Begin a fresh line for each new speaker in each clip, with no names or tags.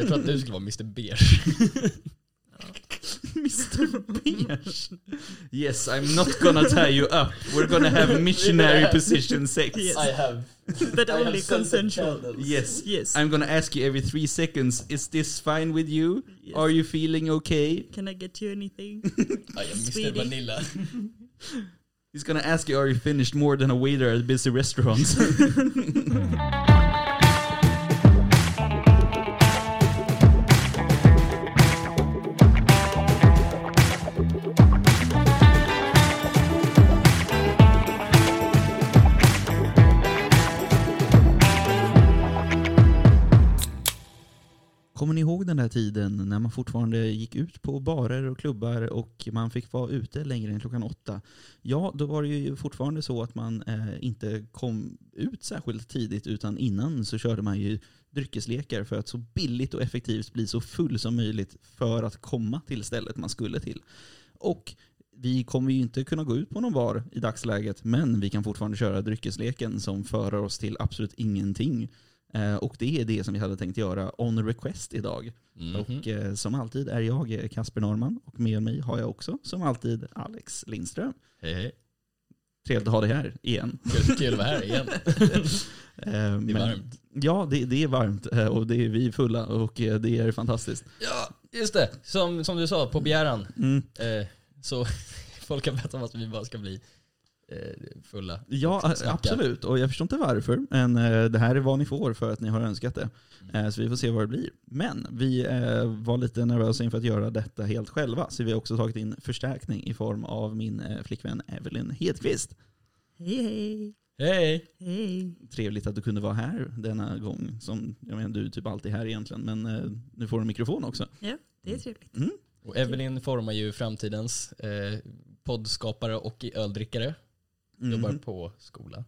Jag tror att du skulle vara Mr Beige.
Mr Beige. Yes, I'm not gonna tie you up. We're gonna have missionary position sex.
I have.
But only consensual.
Yes.
Yes.
I'm gonna ask you every three seconds, is this fine with you?
Yes.
Are you feeling okay?
Can I get you anything?
I am Mr
Swedish.
Vanilla.
He's gonna ask you, are you finished more than a waiter at busy restaurants? Kommer ni ihåg den där tiden när man fortfarande gick ut på barer och klubbar och man fick vara ute längre än klockan åtta? Ja, då var det ju fortfarande så att man eh, inte kom ut särskilt tidigt utan innan så körde man ju dryckeslekar för att så billigt och effektivt bli så full som möjligt för att komma till stället man skulle till. Och vi kommer ju inte kunna gå ut på någon bar i dagsläget men vi kan fortfarande köra dryckesleken som för oss till absolut ingenting. Eh, och det är det som vi hade tänkt göra on request idag.
Mhm.
Och eh, som alltid är jag eh, Kasper Norman och med mig har jag också som alltid Alex Lindström.
Hej hej.
Trevligt att ha dig här igen.
Kul, kul att vara här igen.
Det är
Det är varmt.
Ja, det, det är varmt eh, och det är vi är fulla och eh, det är fantastiskt.
Ja, just det. Som, som du sa, på begäran.
Mm.
Eh, så folk har bett om att vi bara ska bli eh, fulla.
Ja,
Och snacka.
absolut. Och jag förstår inte varför, men eh, det här är vad ni får för att ni har önskat det. Eh, Så vi får se vad det blir. Men vi eh, var lite nervösa inför att göra detta helt själva, så vi har också tagit in förstärkning i form av min eh, flickvän Evelyn Hedqvist.
hej hej.
Hej!
Hej.
Trevligt att du kunde vara här denna gång. Som, jag menar, du är typ alltid här egentligen, men eh, nu får du en mikrofon också.
Ja, det är trevligt.
Och Evelyn formar ju framtidens eh, poddskapare och öldrickare.
Mhm.
Jobbar på skola.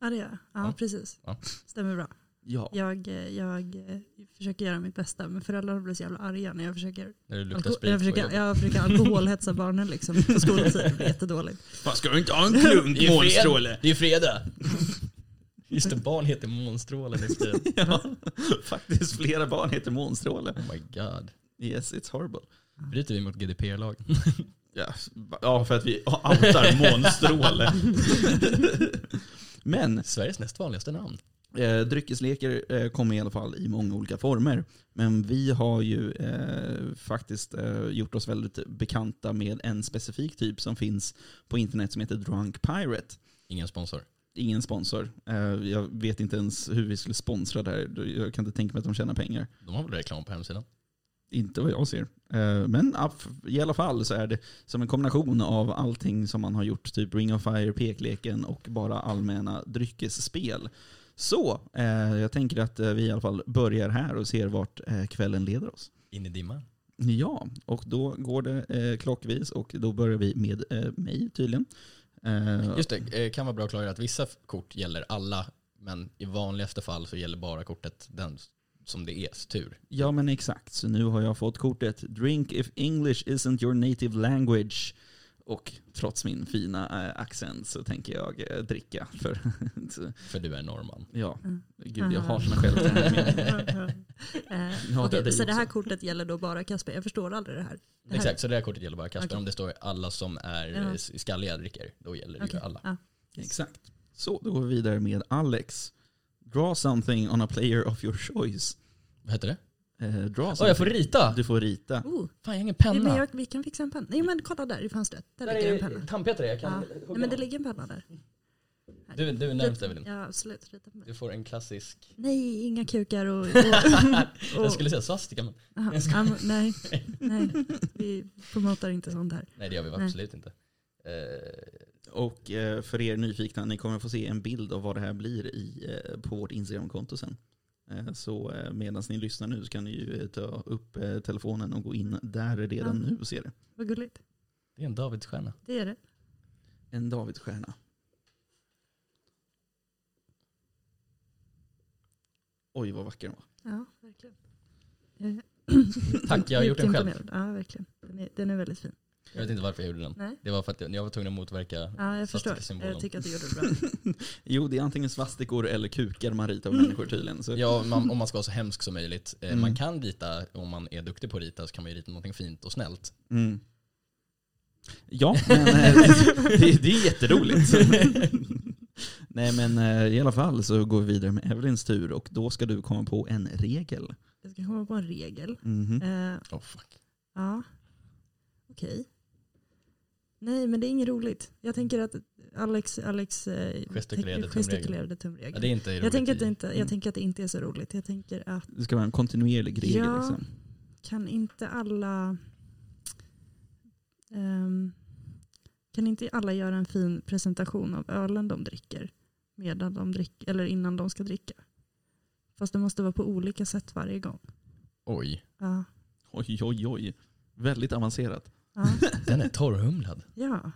Ja, det gör jag. Ja,
Ja.
precis.
Ja.
Stämmer bra.
Ja.
Jag, eh, jag eh, försöker göra mitt bästa, men föräldrar blir så jävla arga när jag försöker,
När det luktar
alko-
sprit
jag
på
försöker,
jobbet.
jag försöker alkoholhetsa barnen liksom, på skoltid. Det blir jättedåligt.
Fan, ska du inte ha en klunk
Det är ju fredag. Det är fredag. Just det, barn heter Månstråle nu för tiden.
Ja, faktiskt flera barn heter månstråle.
Oh my god.
Yes, it's horrible.
Bryter vi mot GDPR-lag?
Ja, ja för att vi outar månstråle. Men
Sveriges näst vanligaste namn.
eh, dryckeslekar eh, kommer i alla fall i många olika former. Men vi har ju eh, faktiskt eh, gjort oss väldigt bekanta med en specifik typ som finns på internet som heter Drunk Pirate.
Ingen sponsor.
Ingen sponsor. Eh, jag vet inte ens hur vi skulle sponsra det här. Jag kan inte tänka mig att de tjänar pengar.
De har väl reklam på hemsidan?
Inte vad jag ser. Eh, Men ja, f- i alla fall så är det som en kombination av allting som man har gjort, typ Ring of Fire, pekleken och bara allmänna dryckesspel. Så eh, jag tänker att eh, vi i alla fall börjar här och ser vart eh, kvällen leder oss.
In i dimman.
Ja, och då går det eh, klockvis och då börjar vi med eh, mig tydligen. Eh,
Just det, eh, kan vara bra att klargöra att vissa f- kort gäller alla, men i vanligaste fall så gäller bara kortet den s- som det är tur.
Ja men exakt, så nu har jag fått kortet Drink if English isn't your native language. Och trots min fina eh, accent så tänker jag eh, dricka. För så,
För du är norrman.
ja,
Mm.
gud jag hatar mig själv. för den här meningen.
Eh,
Ja,
okej,
det är
så det här
också.
kortet gäller då bara Kasper? Jag förstår aldrig det här. Det här
Exakt, så det här kortet gäller bara Kasper.
Okej.
Om det står alla som är
Ja.
eh, s- skalliga dricker, då gäller det
Okej,
ju alla.
ja.
Exakt. Så då går vi vidare med Alex. Draw something on a player of your choice.
Vad heter det?
Eh, draw
Åh,
something.
jag får rita!
Du får rita.
Oh,
Fan, jag har ingen
Alltså, nej,
penna.
men jag, vi kan fixa en penna. Nej men kolla där i fönstret. Där, ligger en penna.
tandpetare, jag
Ja. Nej, men det ligger en penna där.
Du, du är närmst Evelyn.
Ja absolut. Rita på mig.
Du får en klassisk.
Nej, inga kukar och... och, och
Jag skulle säga swastika men
aha, ja, men nej, nej, vi promotar inte sånt här.
nej det gör vi
Nej.
absolut inte. Eh,
Och eh, för er nyfikna, ni kommer få se en bild av vad det här blir i, eh, på vårt Instagramkonto sen. Eh, Så medan ni lyssnar nu så kan ni ju eh, ta upp eh, telefonen och gå in där redan
Ja.
nu och se det.
Vad gulligt.
det är en davidsstjärna.
Det är det.
En Davidsstjärna. Oj vad vacker den var.
Ja, verkligen. Eh,
Tack, jag har gjort den
djupt
själv.
imponerad. Ja, verkligen. Den är, den är väldigt fin.
Jag vet inte varför jag gjorde den.
Nej.
Det var för att jag var tvungen att motverka
Ja, jag förstår.
Svastikasymbolen.
Jag tycker att du gjorde det bra.
Jo, det är antingen svastikor eller kukar man ritar av människor tydligen. Så.
Ja, man, om man ska vara så hemsk som möjligt. Eh,
Mm.
Man kan rita, om man är duktig på att rita, så kan man ju rita någonting fint och snällt.
Mm. Ja, men eh, det, det är jätteroligt. Nej, men eh, i alla fall så går vi vidare med Evelyns tur och då ska du komma på en regel.
Jag ska komma på en regel.
Mhm.
Eh,
Oh, fuck.
ja, okej. Nej, men det är inget roligt. Jag tänker att Alex, Alex eh,
Gestikulerade
tänker- gestikulerade
Ja,
tumregel.
det är inte
jag,
roligt
tänker
i-
att det inte,
Mm.
jag tänker att det inte är så roligt. Jag tänker att
Det ska vara en kontinuerlig regel.
Ja.
Liksom.
kan inte alla ehm, kan inte alla göra en fin presentation av ölen de dricker medan de drick, eller innan de ska dricka? Fast det måste vara på olika sätt varje gång.
Oj,
Ja,
Oj, oj, oj. Väldigt avancerat.
ja,
den är torrhumlad.
ja.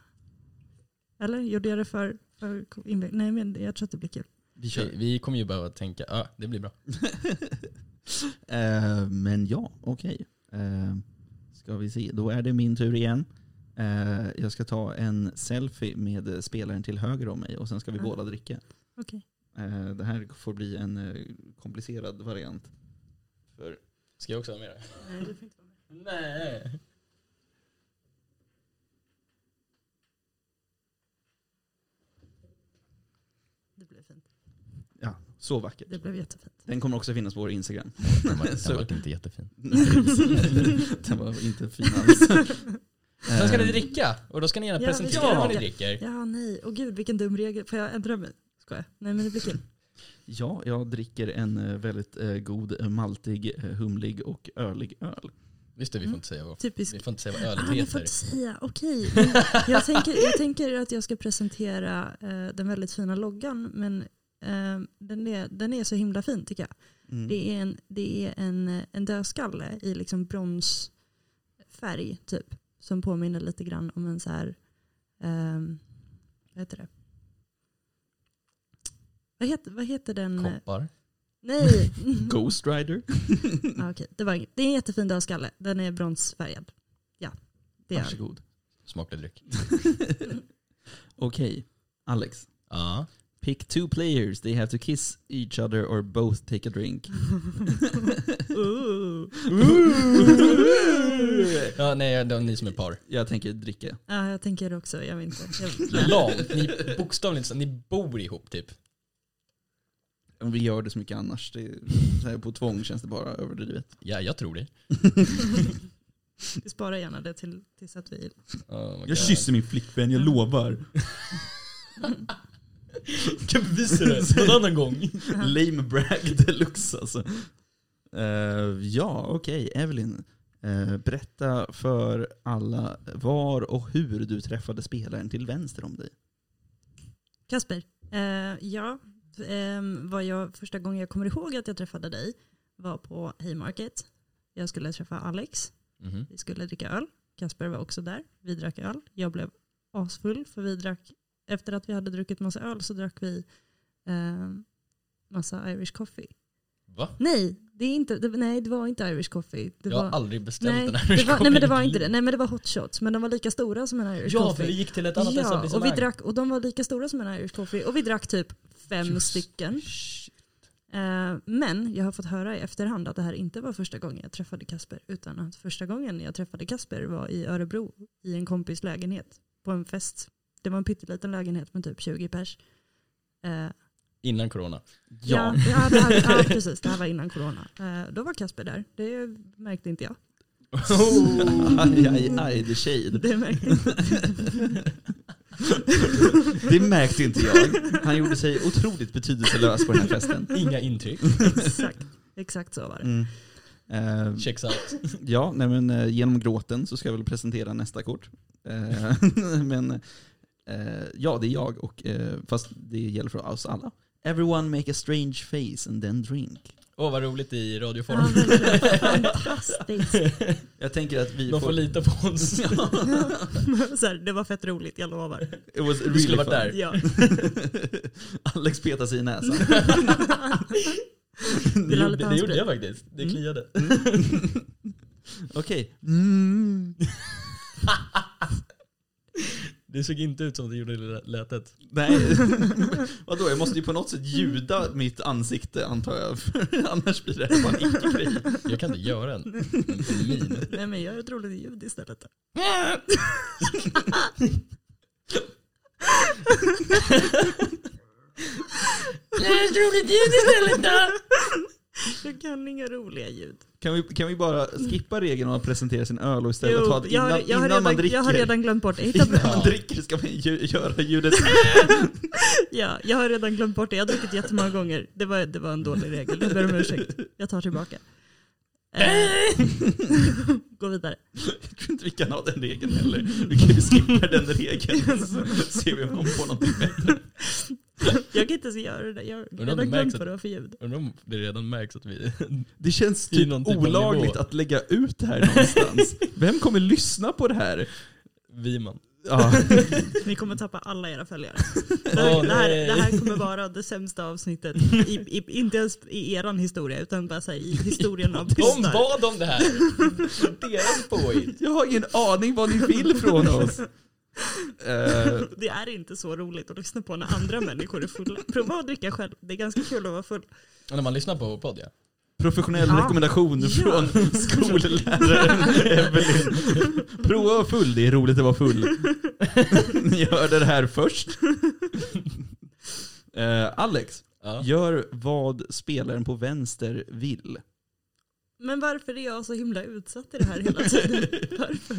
Eller gjorde jag det för, för inväg? Nej, men jag tror att det blir kul.
Vi
Vi, vi kommer ju behöva tänka, ja det blir bra.
Eh, men ja, okej. Eh, ska vi se. Då är det min tur igen. Eh, jag ska ta en selfie med spelaren till höger om mig och sen ska vi
Ah.
båda dricka.
Okej.
Eh, det här får bli en eh, komplicerad variant. För
Ska jag också vara med då?
Nej, det får inte vara med.
Nej.
Det blev fint.
ja, så vackert.
Det blev jättefint.
Den kommer också finnas på vår Instagram.
Den var,
Så-
den var inte jättefin.
Den var inte fin alls.
Sen ska ni
Eh,
dricka och då ska ni gärna
Ehm. Ja, vi ska
presentera vad ni
dricka.
dricker.
Ja, nej. Åh gud, vilken dum regel. Får jag ändra mig? Skojar. Nej, men det blir kul.
Ja, jag dricker en eh, väldigt eh, god eh, maltig, eh, humlig och ölig öl.
Just det, vi får
Mm.
inte säga vad,
Typisk
vi får inte säga vad
Ah,
ölet
ni får
heter.
inte säga. Okej. Men Jag, tänker, jag tänker att jag ska presentera eh, den väldigt fina loggan. Men eh, den, är, den är så himla fin tycker jag.
Mm.
Det är en, det är en, eh, en dödskalle i liksom bronsfärg typ. Som påminner lite grann om en så här, ehm, vad heter det? Vad heter, vad heter den?
Koppar.
Nej.
Mm. Ghost Rider.
ah, okej. det, var, inget. det är en jättefin dödskalle. Den är bronsfärgad. Ja, det är den.
Varsågod.
Smaklig dryck.
Okej, Alex.
Ja.
Pick two players. They have to kiss each other or both take a drink.
Ooh.
ja nej, det är ni som är par.
jag tänker dricka.
Ja, jag tänker det också. Jag vet inte. Jag,
Lamt. Ni bokstavligt så- ni bor ihop typ.
Om vi gör det så mycket annars. Det är, så här på tvång känns det bara överdrivet.
Ja, jag tror det.
vi sparar gärna det till, tills att vi...
Oh my
Jag
God.
kysser min flickvän, jag lovar.
Mm.
kan bevisa det någon annan gång.
Lame brag deluxe alltså. Eh, ja, okej. Evelyn. eh, berätta för alla var och hur du träffade spelaren till vänster om dig.
Kasper, eh, ja, ehm, vad jag, första gången jag kommer ihåg att jag träffade dig var på Haymarket. Jag skulle träffa Alex.
Mhm.
Vi skulle dricka öl. Kasper var också där. Vi drack öl. Jag blev asfull för vi drack... Efter att vi hade druckit massa öl så drack vi ehm, massa Irish coffee.
Va?
Nej, det, är inte, det, nej, det var inte Irish coffee. Det
jag har
var,
aldrig beställt den här
det var, nej men det var inte det. Nej men det var hot shots. Men de var lika stora som en Irish
Ja, för vi
coffee.
gick till ett annat
ja, och, vi
etablissemang.
drack, och de var lika stora som en Irish coffee. Och vi drack typ fem
Just-
stycken.
Shh.
Eh, men jag har fått höra i efterhand att det här inte var första gången jag träffade Kasper. Utan att första gången jag träffade Kasper var i Örebro. I en kompis lägenhet. På en fest. Det var en pytteliten lägenhet med typ 20 pers. Eh,
Innan corona.
Ja, ja, det här, ja precis. Det här var innan corona. Eh, då var Kasper där. Det märkte inte jag.
aj, aj, aj, the shade.
Det märkte inte.
Det märkte inte jag. Han gjorde sig otroligt betydelselös på den här festen.
Inga intryck.
Exakt, exakt så var det.
Mm. Eh,
Checks out.
ja, nej, men, eh, genom gråten så ska jag väl presentera nästa kort. Eh, men eh, ja, det är jag, och, eh, fast det gäller för oss alla. Everyone make a strange face and then drink.
Åh vad roligt i radioform.
Ja, verkligen. Fantastiskt.
Jag tänker att vi
De får lita på oss.
Så här, det var fett roligt, jag lovar.
It was
Du skulle
really
varit
fun.
Ja.
Alex petar sig i näsan.
Det
lade
gjorde,
på
det
hans
gjorde
bröst.
jag faktiskt. Det
Mm.
kliade.
Okej. Mm.
Det såg inte ut som det gjorde det lätet.
Nej, vadå? Jag måste ju på något sätt ljuda mitt ansikte antar jag. För annars blir det här bara en icke-grej.
Jag kan inte göra en en min.
Nej men gör ett roligt ljud istället. då.
Gör ett roligt ljud istället då!
Jag kan inga roliga ljud.
Kan vi, kan vi bara skippa regeln om att presentera sin öl och istället
Mm. Jo,
ta det
jag,
innan,
har- jag, har
innan man
redan,
dricker?
jag har redan glömt bort det. Jag,
Innan
hittar,
man dricker ska man ju, göra ljudet
ja, jag har redan glömt bort det. Jag har druckit jättemånga gånger. Det var, det var en dålig regel. Jag ber om ursäkt. Jag tar tillbaka. Eh, gå vidare.
Jag tror inte vi kan ha den regeln heller. Vi kan ju skippa den regeln så ser vi om man får någonting bättre.
Jag kan inte ens göra det. Jag har
det
redan
märks
glömt
att-
vad det var för ljud.
Undrar om det redan märks att vi...
Det känns
I någon
typ
typ av
olagligt
nivå.
att lägga ut det här någonstans. Vem kommer lyssna på det här?
Vi man.
Ja,
Ni kommer tappa alla era följare. Det
Åh,
här, det här,
nej.
det här kommer vara det sämsta avsnittet. I, i, inte ens i eran historia, utan bara så här, i historien av
De
poddar.
bad om det här! Deras påhitt.
jag har ingen aning vad ni vill från oss. Eh,
Det är inte så roligt att lyssna på när andra människor är fulla. Prova att dricka själv. Det är ganska kul att vara full.
När man lyssnar på vår podd ja.
professionell
Ja.
rekommendation
Ja.
från skolläraren Evelyn. Prova att vara full, det är roligt att vara full. Ni hörde det här först. Eh, Alex,
ja.
Gör vad spelaren på vänster vill.
Men varför är jag så himla utsatt i det här hela tiden? Varför?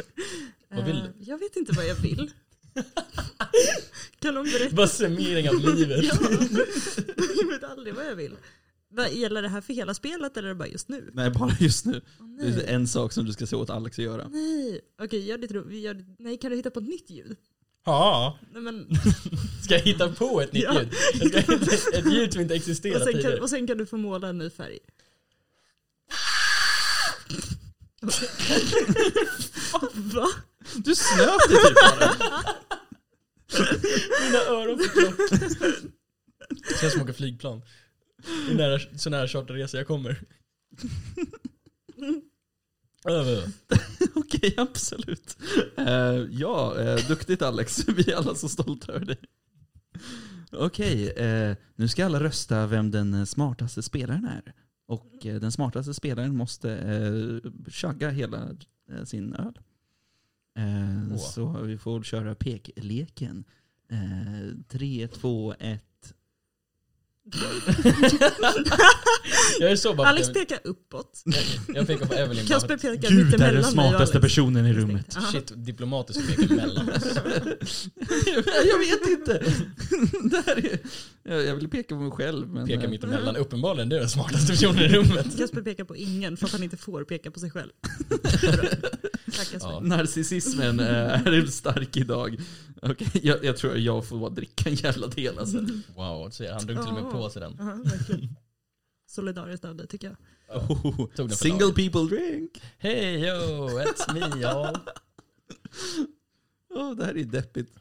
Vad vill
Eh, Jag vet inte vad jag vill. kan någon berätta?
Bara summering av livet.
Ja, jag vet aldrig vad jag vill. Vad, gäller det här för hela spelet eller är det bara just nu?
Nej, bara just nu.
Åh,
Det är
nej.
en sak som du ska se åt Alex att göra.
Nej, okej, gör ditt ro- vi gör ditt- Nej, kan du hitta på ett nytt ljud?
Ja.
Nej, men,
Ska jag hitta på ett nytt
Ja.
ljud? Jag ska hitta ett ljud som inte
och,
existerat
sen kan,
tidigare.
och sen kan du få måla en ny färg. Okej. Va?
Du snöp dig typ bara.
Mina öron fick lock. Det känns som att åka flygplan. Det är nära, så nära charterresa jag kommer. Över.
Okej, absolut. Eh, ja, eh, duktigt Alex. Vi är alla så stolta över dig. Okej, eh, nu ska alla rösta vem den smartaste spelaren är. Och eh, den smartaste spelaren måste eh, chagga hela eh, sin öl. Eh,
Åh.
Så vi får köra pekleken. Eh, tre, två, ett.
Jag är så bara...
Alex pekar uppåt.
jag, jag pekar på Evelyn bara för
Kasper pekar
Gud
mittemellan
är
mig
den
och
smartaste
Alex.
personen i rummet.
Aha.
att shit, diplomatiskt pekar mellan oss.
Alltså. jag vet inte. det här är, jag, jag vill peka på mig själv. Men, eh,
Pekar mittemellan. Uppenbarligen det är den smartaste personen i rummet.
Kasper pekar på ingen för att han inte får peka på sig själv. Tack Kasper.
Ja.
Narcissismen eh, är stark idag. Okej, jag, jag tror jag får bara dricka en jävla del alltså.
Mm. Wow, så han drog till och med på sig den.
Ja, verkligen. Solidariskt av dig tycker jag.
Oh,
den för
single
laget.
people drink.
Hey yo, it's me y'all.
Oh, det här är deppigt.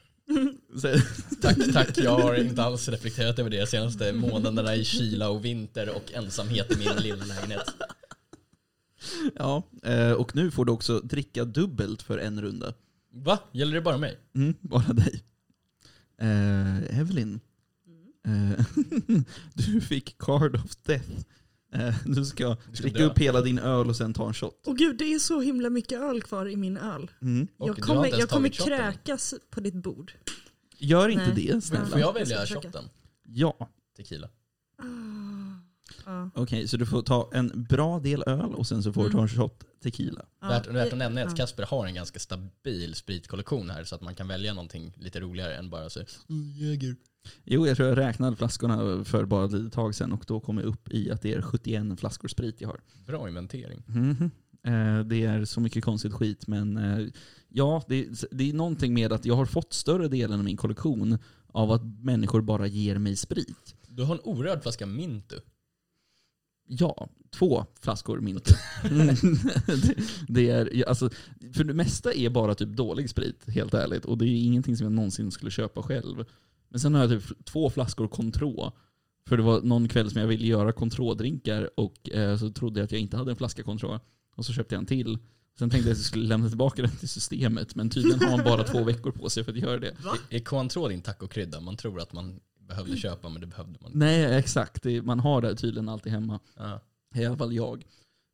Så-
Tack, tack. Jag har inte alls reflekterat över det de senaste månaderna i kyla och vinter och ensamhet i min lilla lägenhet.
ja, eh, och nu får du också dricka dubbelt för en runda.
Va? Gäller det bara mig?
Mm, bara dig. Eh, Evelyn.
Mm.
Eh, du fick card of death. Eh, du ska
ska
dricka
dö.
upp hela din öl och sen ta en shot.
Åh gud, det är så himla mycket öl kvar i min öl.
Mm.
Och
jag
du har
kommer,
inte ens
jag kommer
tagit shotten.
kräkas på ditt bord.
Gör inte
Nej.
det snälla.
Får jag
Jag ska
välja
försöka.
shotten?
Ja.
Tequila.
Ah, Ja.
Okej, så du får ta en bra del öl och sen så får du ta
Mm.
en shot tequila.
Ja.
värt, värt att nämna är att
Ja.
Kasper har en ganska stabil spritkollektion här så att man kan välja någonting lite roligare än bara så "Mm, Jäger.
Jo, jag tror jag räknade flaskorna för bara ett litet tag sedan och då kom jag upp i att det är 71 flaskor sprit jag har.
Bra inventering.
Mhm. Eh, Det är så mycket konstigt skit men eh, ja, det, det är någonting med att jag har fått större delen av min kollektion av att människor bara ger mig sprit.
Du har en orörd flaska Mintu.
Ja, två flaskor mint. Mm. det, det är, alltså, för det mesta är bara typ dålig sprit, helt ärligt. Och det är ingenting som jag någonsin skulle köpa själv. Men sen har jag typ två flaskor Contrå. För det var någon kväll som jag ville göra Contrå-drinkar och eh, så trodde jag att jag inte hade en flaska Contrå. Och så köpte jag en till. Sen tänkte jag att jag skulle lämna tillbaka den till systemet, men tydligen har man bara två veckor på sig för att göra det.
Är kontråd din tacokrydda? Man tror att man behövde köpa men det behövde man inte.
Nej, exakt. Det, man har det tydligen alltid hemma.
Ja.
I alla fall jag.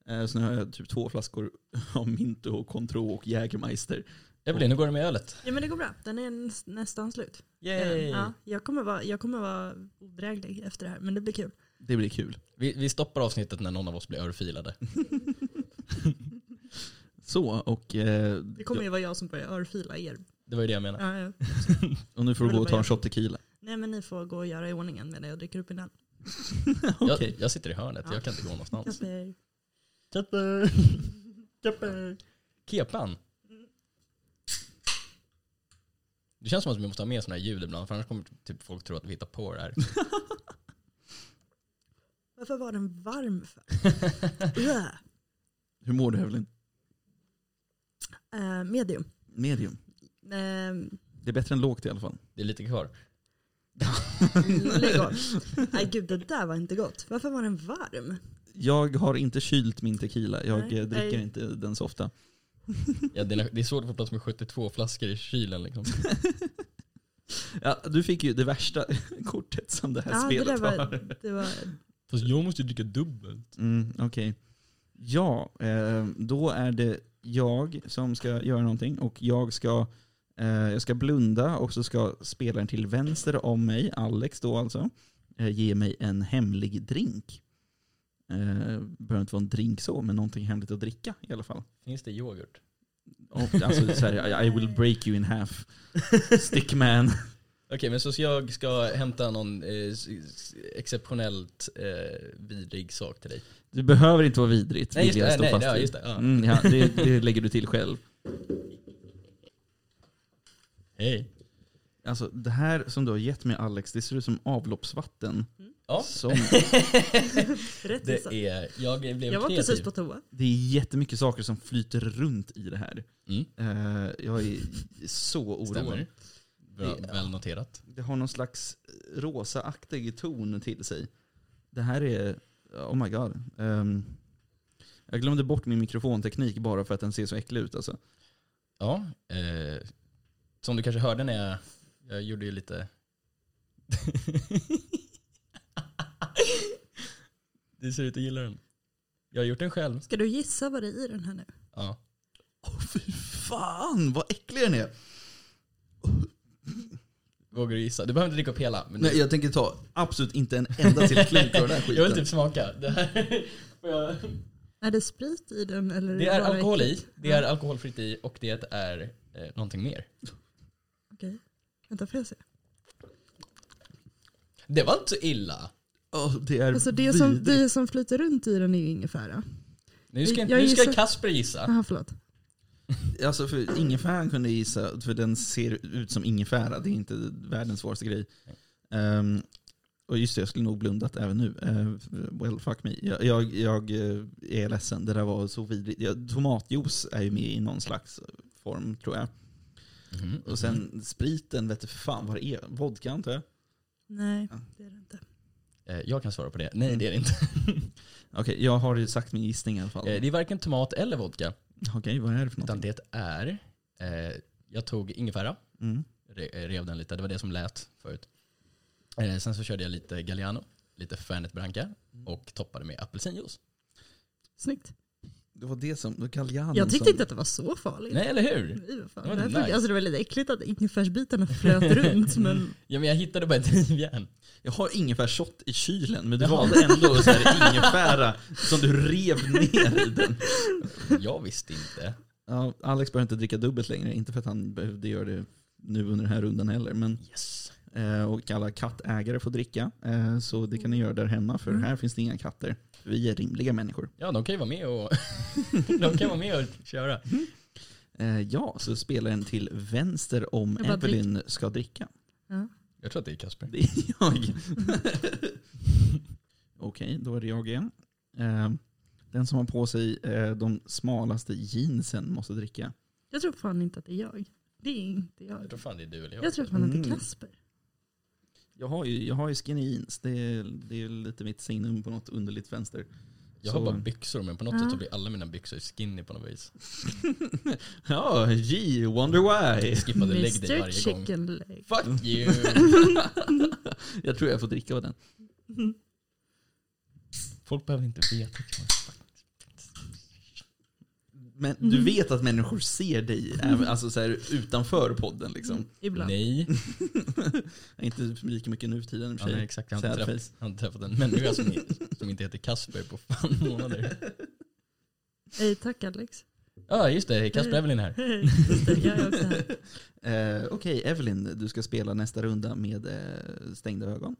Eh, Så nu har jag typ två flaskor av Minto, och Contro och Jägermeister.
Evelyn, hur går det med ölet?
Ja men det går bra, den är n- nästan slut. Ehm,
Ja.
Ja, jag, kommer vara, jag kommer vara odräglig efter det här, men det blir kul.
Det blir kul.
Vi, vi stoppar avsnittet när någon av oss blir örfilade.
Så, och, eh,
Det kommer ju vara jag som börjar örfila er.
Det var ju det jag menade.
Ja, ja.
och nu får du gå och ta en shot tequila.
Nej men ni får gå och göra i ordningen medan jag dricker upp innan.
Okej.
Jag, jag sitter i hörnet,
Ja.
jag kan inte gå någonstans.
Kasper.
Kapper. Kapper. Kepan. Det känns som att vi måste ha med sådana här ljud ibland för annars kommer typ folk tro att vi hittar på det här.
Varför var den varm för? Ugh.
Hur mår du Evelyn?
Eh, medium.
Medium.
Uh,
Det är bättre än lågt i alla fall.
Det är lite kvar.
lägg av. Nej gud det där var inte gott. Varför var den varm?
Jag har inte kylt min tequila. Jag
Nej.
eh, dricker
Nej.
inte den så ofta.
Ja, det, är, det är svårt att få plats med 72 flaskor i kylen liksom.
Ja, du fick ju det värsta kortet som det här
Ja, det
spelet
där var,
har.
det var
Fast jag måste ju dricka dubbelt.
Mm, Okej. Ja, eh, då är det jag som ska göra någonting och jag ska, eh, jag ska blunda och så ska spelaren till vänster om mig, Alex då alltså, eh, ge mig en hemlig drink. Eh, behöver inte vara en drink så, men någonting hemligt att dricka i alla fall.
Finns det yoghurt?
Och, alltså så här, I, I will break you in half, stickman.
Okej, men så jag ska hämta någon eh, s- s- exceptionellt eh, vidrig sak till dig.
Det behöver inte vara vidrigt,
Nej, just
vill
det. Eh,
jag stå
Nej,
fast
ja,
vid.
just det, ja.
Mm, ja, det, det lägger du till själv.
Hej.
Alltså det här som du har gett mig Alex, det ser ut som avloppsvatten.
Ja,
Som,
rätt
det
det
är, jag blev
Jag var
kreativ.
precis på toa.
det är jättemycket saker som flyter runt i det här.
Mm.
Eh, jag är så oroad.
Stämmer. Bra,
Det-
väl noterat.
Det har någon slags rosaaktig ton till sig. Det här är, oh my god. Ehm, jag glömde bort min mikrofonteknik bara för att den ser så äcklig ut alltså.
Ja, eh, som du kanske hörde när jag, jag gjorde ju lite... det ser ut att gilla den. Jag har gjort den själv.
Ska du gissa vad det är i den här nu?
Ja.
Åh fy fan vad äcklig den är.
Vågar du gissa? Du behöver inte dricka upp hela. Men
Nej jag tänker ta absolut inte en enda till klunk av den här skiten.
jag vill typ smaka. Det, här, får jag-
Är det sprit i den? Eller
det är
bara
alkohol i,
äckligt?
det är alkoholfritt i och det är eh, någonting mer.
Okej. Vänta får jag se.
Det var inte så illa.
Åh, det är
Alltså det som,
vidrigt.
det som flyter runt i den är ju ingefära.
Nu ska,
Jag
nu ska
gissar- Mm.
Kasper gissa.
Jaha förlåt.
Alltså för ingefäran kunde jag gissa, för den ser ut som ingefära. Det är inte världens svåraste grej. Ehm, och just det, jag skulle nog blundat även nu. Ehm, well, fuck me. Jag, jag, jag eh, är ledsen, det där var så vidrigt. Ja, tomatjuice är ju med i någon slags form tror jag.
Mhm.
Och sen spriten vet du fan vad det är. Vodka antar jag.
Nej
Ja.
det är det inte.
Eh, Jag kan svara på det. Nej det är det inte.
Okej, jag har ju sagt min gissning i alla fall.
Eh, Det är varken tomat eller vodka.
Okej, vad är det för
Utan
någonting?
det är, eh, jag tog ingefära,
Mm.
re- eh, rev den lite, det var det som lät förut. Eh, sen så körde jag lite Galliano, lite Fernet Branca och toppade med apelsinjuice.
Snyggt.
Det var det som, det var Galliano
Jag
som-
tyckte inte att det var så farligt.
Nej eller hur?
Fy fan,
Det var
det, här
nice.
fick- alltså det var lite äckligt att ingefärsbitarna flöt runt men
Ja, men jag hittade bara ett drivjärn.
Jag har ingefärsshot i kylen men du
Jaha.
valde ändå så här ingefära som du rev ner i den.
Jag visste inte.
Ja, Alex behöver inte dricka dubbelt längre, inte för att han behövde göra det nu under den här rundan heller. Men,
Yes.
eh, och alla kattägare får dricka, eh, så det kan ni göra där hemma för här finns det inga katter. Vi är rimliga människor.
Ja, de kan ju vara med och, de kan vara med och köra.
Eh, ja, så spelaren till vänster om
Jag bara
Evelyn ska dricka.
Jag tror att det är Kasper.
Det är jag. Okej, då är det jag igen. Eh, den som har på sig eh, de smalaste jeansen måste dricka.
jag tror fan inte att det är jag. Det är inte jag.
Jag tror fan det är du eller jag.
Jag tror fan att det är
Mm.
Kasper.
Jag har ju, jag har ju skinny jeans. Det är, det är lite mitt signum på något underligt vänster.
Jag har
Så-
bara byxor men på något
Ja.
sätt så blir alla mina byxor skinny på något vis.
Ja, G, wonder why.
Jag skippade lägg dig
Mr
varje gång.
Chicken Leg.
Fuck you!
Jag tror jag får dricka av den.
Folk behöver inte veta.
Men du vet att människor ser dig även, alltså så här, utanför podden liksom?
Mm, Ibland.
Nej.
Inte lika mycket nu för tiden i och
Ja,
för
nej,
sig.
exakt. Jag har inte
Sad
träffat, jag har inte träffat en människa som, som inte heter Kasper på fan månader.
Hej tack Alex.
Ja just det, Kasper Evelyn här.
Hej. Just det, jag är också här.
Eh, Okej, Evelyn, du ska spela nästa runda med eh, stängda ögon.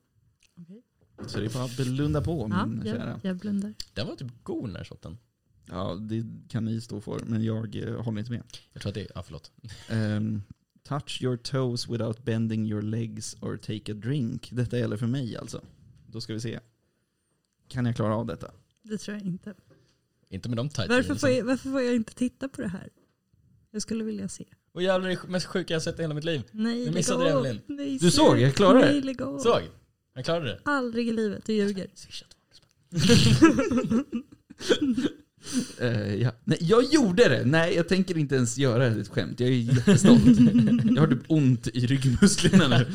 Okej.
Så det är bara att blunda på
Ja,
min
jag,
kära.
jag blundar.
Den var typ god den här shotten.
Ja, det kan ni stå för, men jag eh, håller inte med.
Jag tror att det är, ja förlåt.
Ehm, touch your toes without bending your legs or take a drink. Detta gäller för mig alltså. Då ska vi se. Kan jag klara av detta?
Det tror jag inte.
Inte med de liksom. tights.
Varför får, jag, varför får jag inte titta på det här? Jag skulle vilja se.
Och jävlar det är det mest sjuka jag har sett i hela mitt liv.
Nej,
Du missade
lägg
det,
av.
Evelyn.
Nej,
Du såg, jag klarade
Nej,
det.
lägg av.
Såg! Jag klarade det.
Aldrig i livet, du ljuger.
Swisha tillbaka.
Eh, ja. Nej, jag gjorde det! Nej, jag tänker inte ens göra ett skämt. Jag är jättestolt. jag har typ ont i ryggmusklerna nu.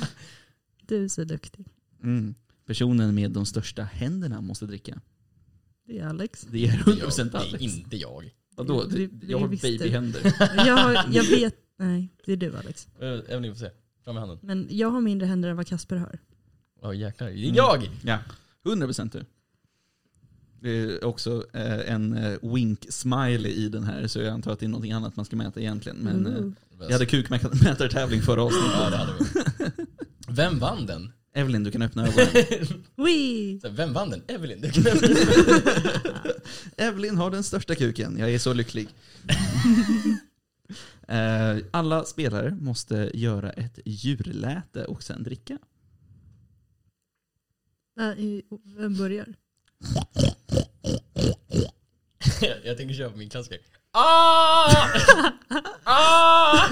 Du är så duktig.
Mm. Personen med de största händerna måste dricka.
Det är Alex.
Det är
Det är jag,
100%
Det är
Alex.
inte jag.
Vadå?
Det- det
Jag har
visste du.
babyhänder.
Jag, har- jag vet, nej det är du Alex.
Eh, Evelyn får se. Fram med handen.
Men jag har mindre händer än vad Kasper har.
Ja jäklar. Det är jag!
Ja, 100% du. Det är också eh, en wink-smiley i den här, så jag antar att det är något annat man ska mäta egentligen. Men eh,
Ooh.
jag hade kukmätartävling förra
Ja,
avsnittet.
det hade vi. Vem vann den?
Evelyn, du kan öppna ögonen.
Wee!
Så här, Vem vann den? Evelyn. Du kan...
Evelyn har den största kuken, jag är så lycklig. Eh, Alla spelare måste göra ett djurläte och sen dricka.
Nej, Vem börjar?
jag tänker köra på min klassiker. Ah! Ah!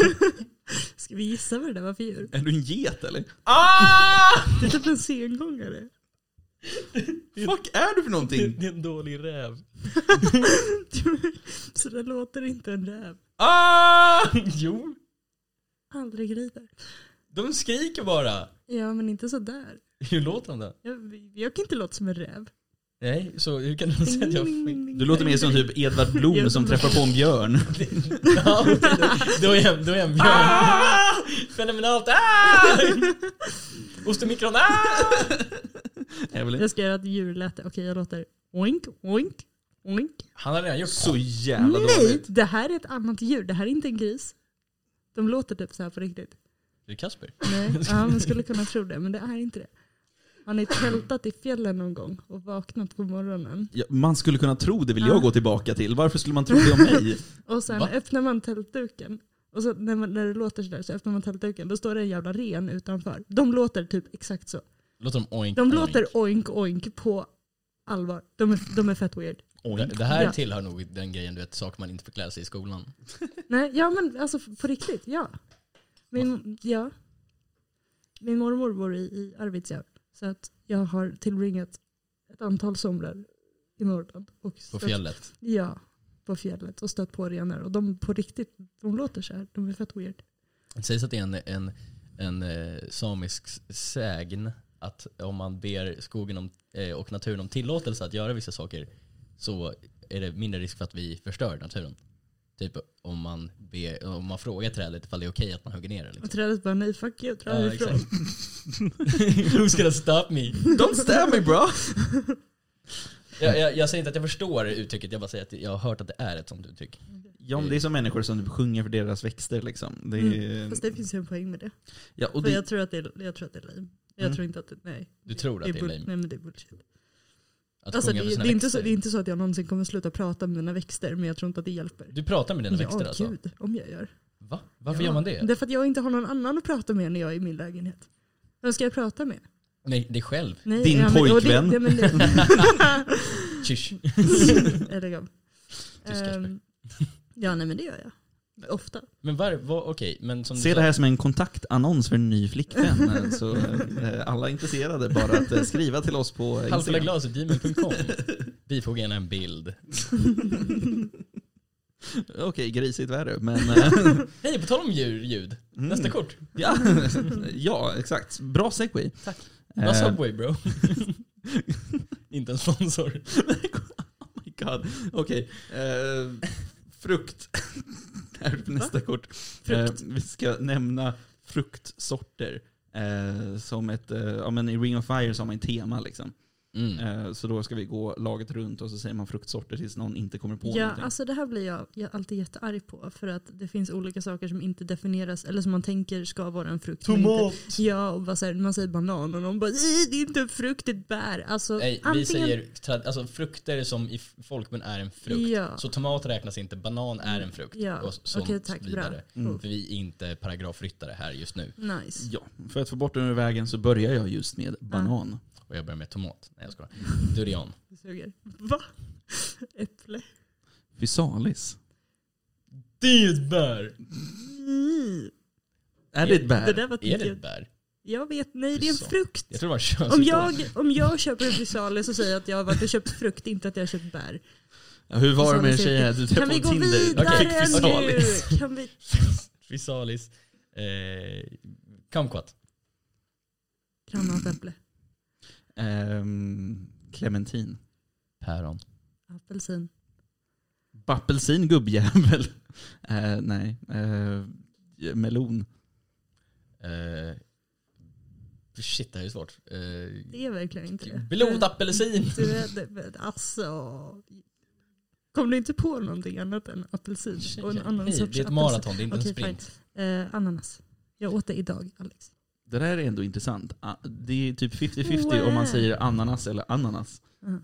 Ska vi gissa vad det där var för djur?
Är du en get eller?
Ah!
Det är typ en sengångare.
Fuck är du för någonting?
Det är en dålig räv.
Så där låter inte en räv.
Ah! Jo,
Aldrig rider.
de skriker bara.
Ja men inte så där.
Hur låter de då?
Jag, jag kan inte låta som en räv.
Nej, så hur kan du säga att jag...
Du låter mer som typ Edvard Blom som träffar på en björn.
Ja, okej, då- Då är jag, då är jag en björn. Ah! Fenomenalt! Ah! Ostemikron! Ah!
Evelyn?
Jag ska göra ett djurläte. Okej jag låter oink, oink, oink.
Han har redan gjort
Så jävla
Nej!
dåligt.
Det här är ett annat djur. Det här är inte en gris. De låter typ så här på riktigt.
Det är Kasper.
Nej, ja, man skulle kunna tro det men det är inte det. Har ni tältat i fjällen någon gång och vaknat på morgonen?
Ja, man skulle kunna tro det vill
Ja.
jag gå tillbaka till. Varför skulle man tro det om mig?
Och sen
Va?
öppnar man tältduken. Och så när, man, när det låter sådär så öppnar man tältduken. Då står det en jävla ren utanför. De låter typ exakt så.
Låter de oink,
De
oink?
låter oink oink på allvar. De är, de är fett weird.
Det, det här
Ja.
tillhör nog den grejen, du vet, saker man inte fick lära sig i skolan.
Nej, ja men alltså på riktigt, ja. Min, ja. Min mormor bor i, i Arvidsjaur. Så att jag har tillbringat ett antal somrar i Norrland. Och
På
stött-
fjället.
Ja, på fjället. Och stött på renar. Och de på riktigt, de låter så här. De är fett weird.
Det sägs att det är en, en, en eh, samisk s- sägn att om man ber skogen om, eh, och naturen om tillåtelse att göra vissa saker så är det mindre risk för att vi förstör naturen. Typ om man, ber, om man frågar trädet ifall det är okej att man hugger ner det.
Och
Liksom.
trädet bara nej fuck you, dra härifrån.
Who's gonna stop me?
Don't stab me bro!
Jag, jag, jag säger inte att jag förstår uttrycket, jag bara säger att jag har hört att det är ett sånt uttryck.
Ja, men det är som människor som typ sjunger för deras växter liksom. Det är,
Mm. Fast det finns ju en poäng med det.
ja, och
För
det,
jag tror att det är, jag tror att det är lame. Jag
Mm.
tror inte att det, nej.
Du tror att det är
bull-
lame?
Nej men det är bullshit.
Att
Alltså, det,
sjunga för
är-
sina
det, är inte så,
växter?
det är inte så att jag någonsin kommer sluta prata om mina växter men jag tror inte att det hjälper.
Du pratar med dina växter
ja
alltså?
gud om jag gör.
Va? Varför
ja.
gör man det?
Det är för att jag inte har någon annan att prata med när jag är i min lägenhet. Vem ska jag prata med?
Nej, det är själv.
Nej,
Din
ja, men- och
pojkvän.
Det, det, men det,
Tjysch.
Eller jag.
Kasper.
Ehm, ja nej men det gör jag. Ofta.
Men var, var, okej, men som du
Se
sa-
det här som en kontaktannons för en ny flickvän. Så eh, alla intresserade bara att eh, skriva till oss på eh, Instagram.
Halvfullaglaset.gmail.com Bifoga gärna en bild.
Okej, grisigt värre. Men, eh,
Hej, på tal om djur, ljud. Nästa
mm.
kort.
Ja, ja, exakt. Bra segway.
Tack.
Eh,
Vad Subway bro. Inte en sponsor.
oh my god. Okej. Eh, frukt. Det här är nästa kort.
Frukt.
Eh, vi ska nämna fruktsorter. Eh, som ett, eh, ja, men I Ring of Fire så har man ett tema. Liksom.
Mm.
Eh, så då ska vi gå laget runt och så säger man fruktsorter tills någon inte kommer på
Ja,
någonting.
alltså det här blir jag, jag alltid jättearg på. För att det finns olika saker som inte definieras, eller som man tänker ska vara en frukt. men inte- Ja, och bara så här, man säger banan och någon bara "Ih, det är inte en frukt, det är ett bär. Alltså,
Nej, vi
antingen-
säger trad- alltså, frukter som i f- folkmun är en frukt.
Ja. Mm.
Så tomat räknas inte, banan är en frukt.
Ja,
Och så
okej, tack, bra.
Mm.
För vi är inte paragrafryttare här just nu.
Nice.
Mm.
Ja, för att få bort den ur vägen så börjar jag just med banan.
Och jag börjar med tomat. Nej jag skojar. Durian.
Det suger. Va? Äpple?
Physalis.
Det är ett bär!
Mm.
Är det ett
Det
bär?
där var
Är det
jag,
ett bär?
jag vet, nej det är en
Så.
frukt.
Jag tror Alltså, det var en könsjukdom.
Om jag, om jag köper en frisalis så säger jag att jag har varit och köpt frukt, inte att jag har köpt bär.
Ja, Hur var det med en
Physalis
tjej
heter-
här du träffade
Kan vi
på
gå
Tinder?
vidare
Okej, physalis.
nu? Kan vi...
Chrysalis. Eh, kumquat.
Granatäpple,
Ehm, clementin.
Päron.
apelsin,
Bappelsin gubbjävel. Eh, nej. Eh, melon.
Eh, shit, det här är svårt. Eh,
det är verkligen inte det.
blodapelsin.
Du vet, det- men Alltså... Kom du inte på någonting annat än apelsin? Och en annan
Nej,
sorts
det är ett
apelsin?
maraton, det är inte
Okej,
en sprint.
fine. Eh, ananas. Jag åt det idag, Alex.
Det där är ändå intressant. Ah, Det är typ 50-50 om man
Wow.
säger ananas eller ananas.
Uh,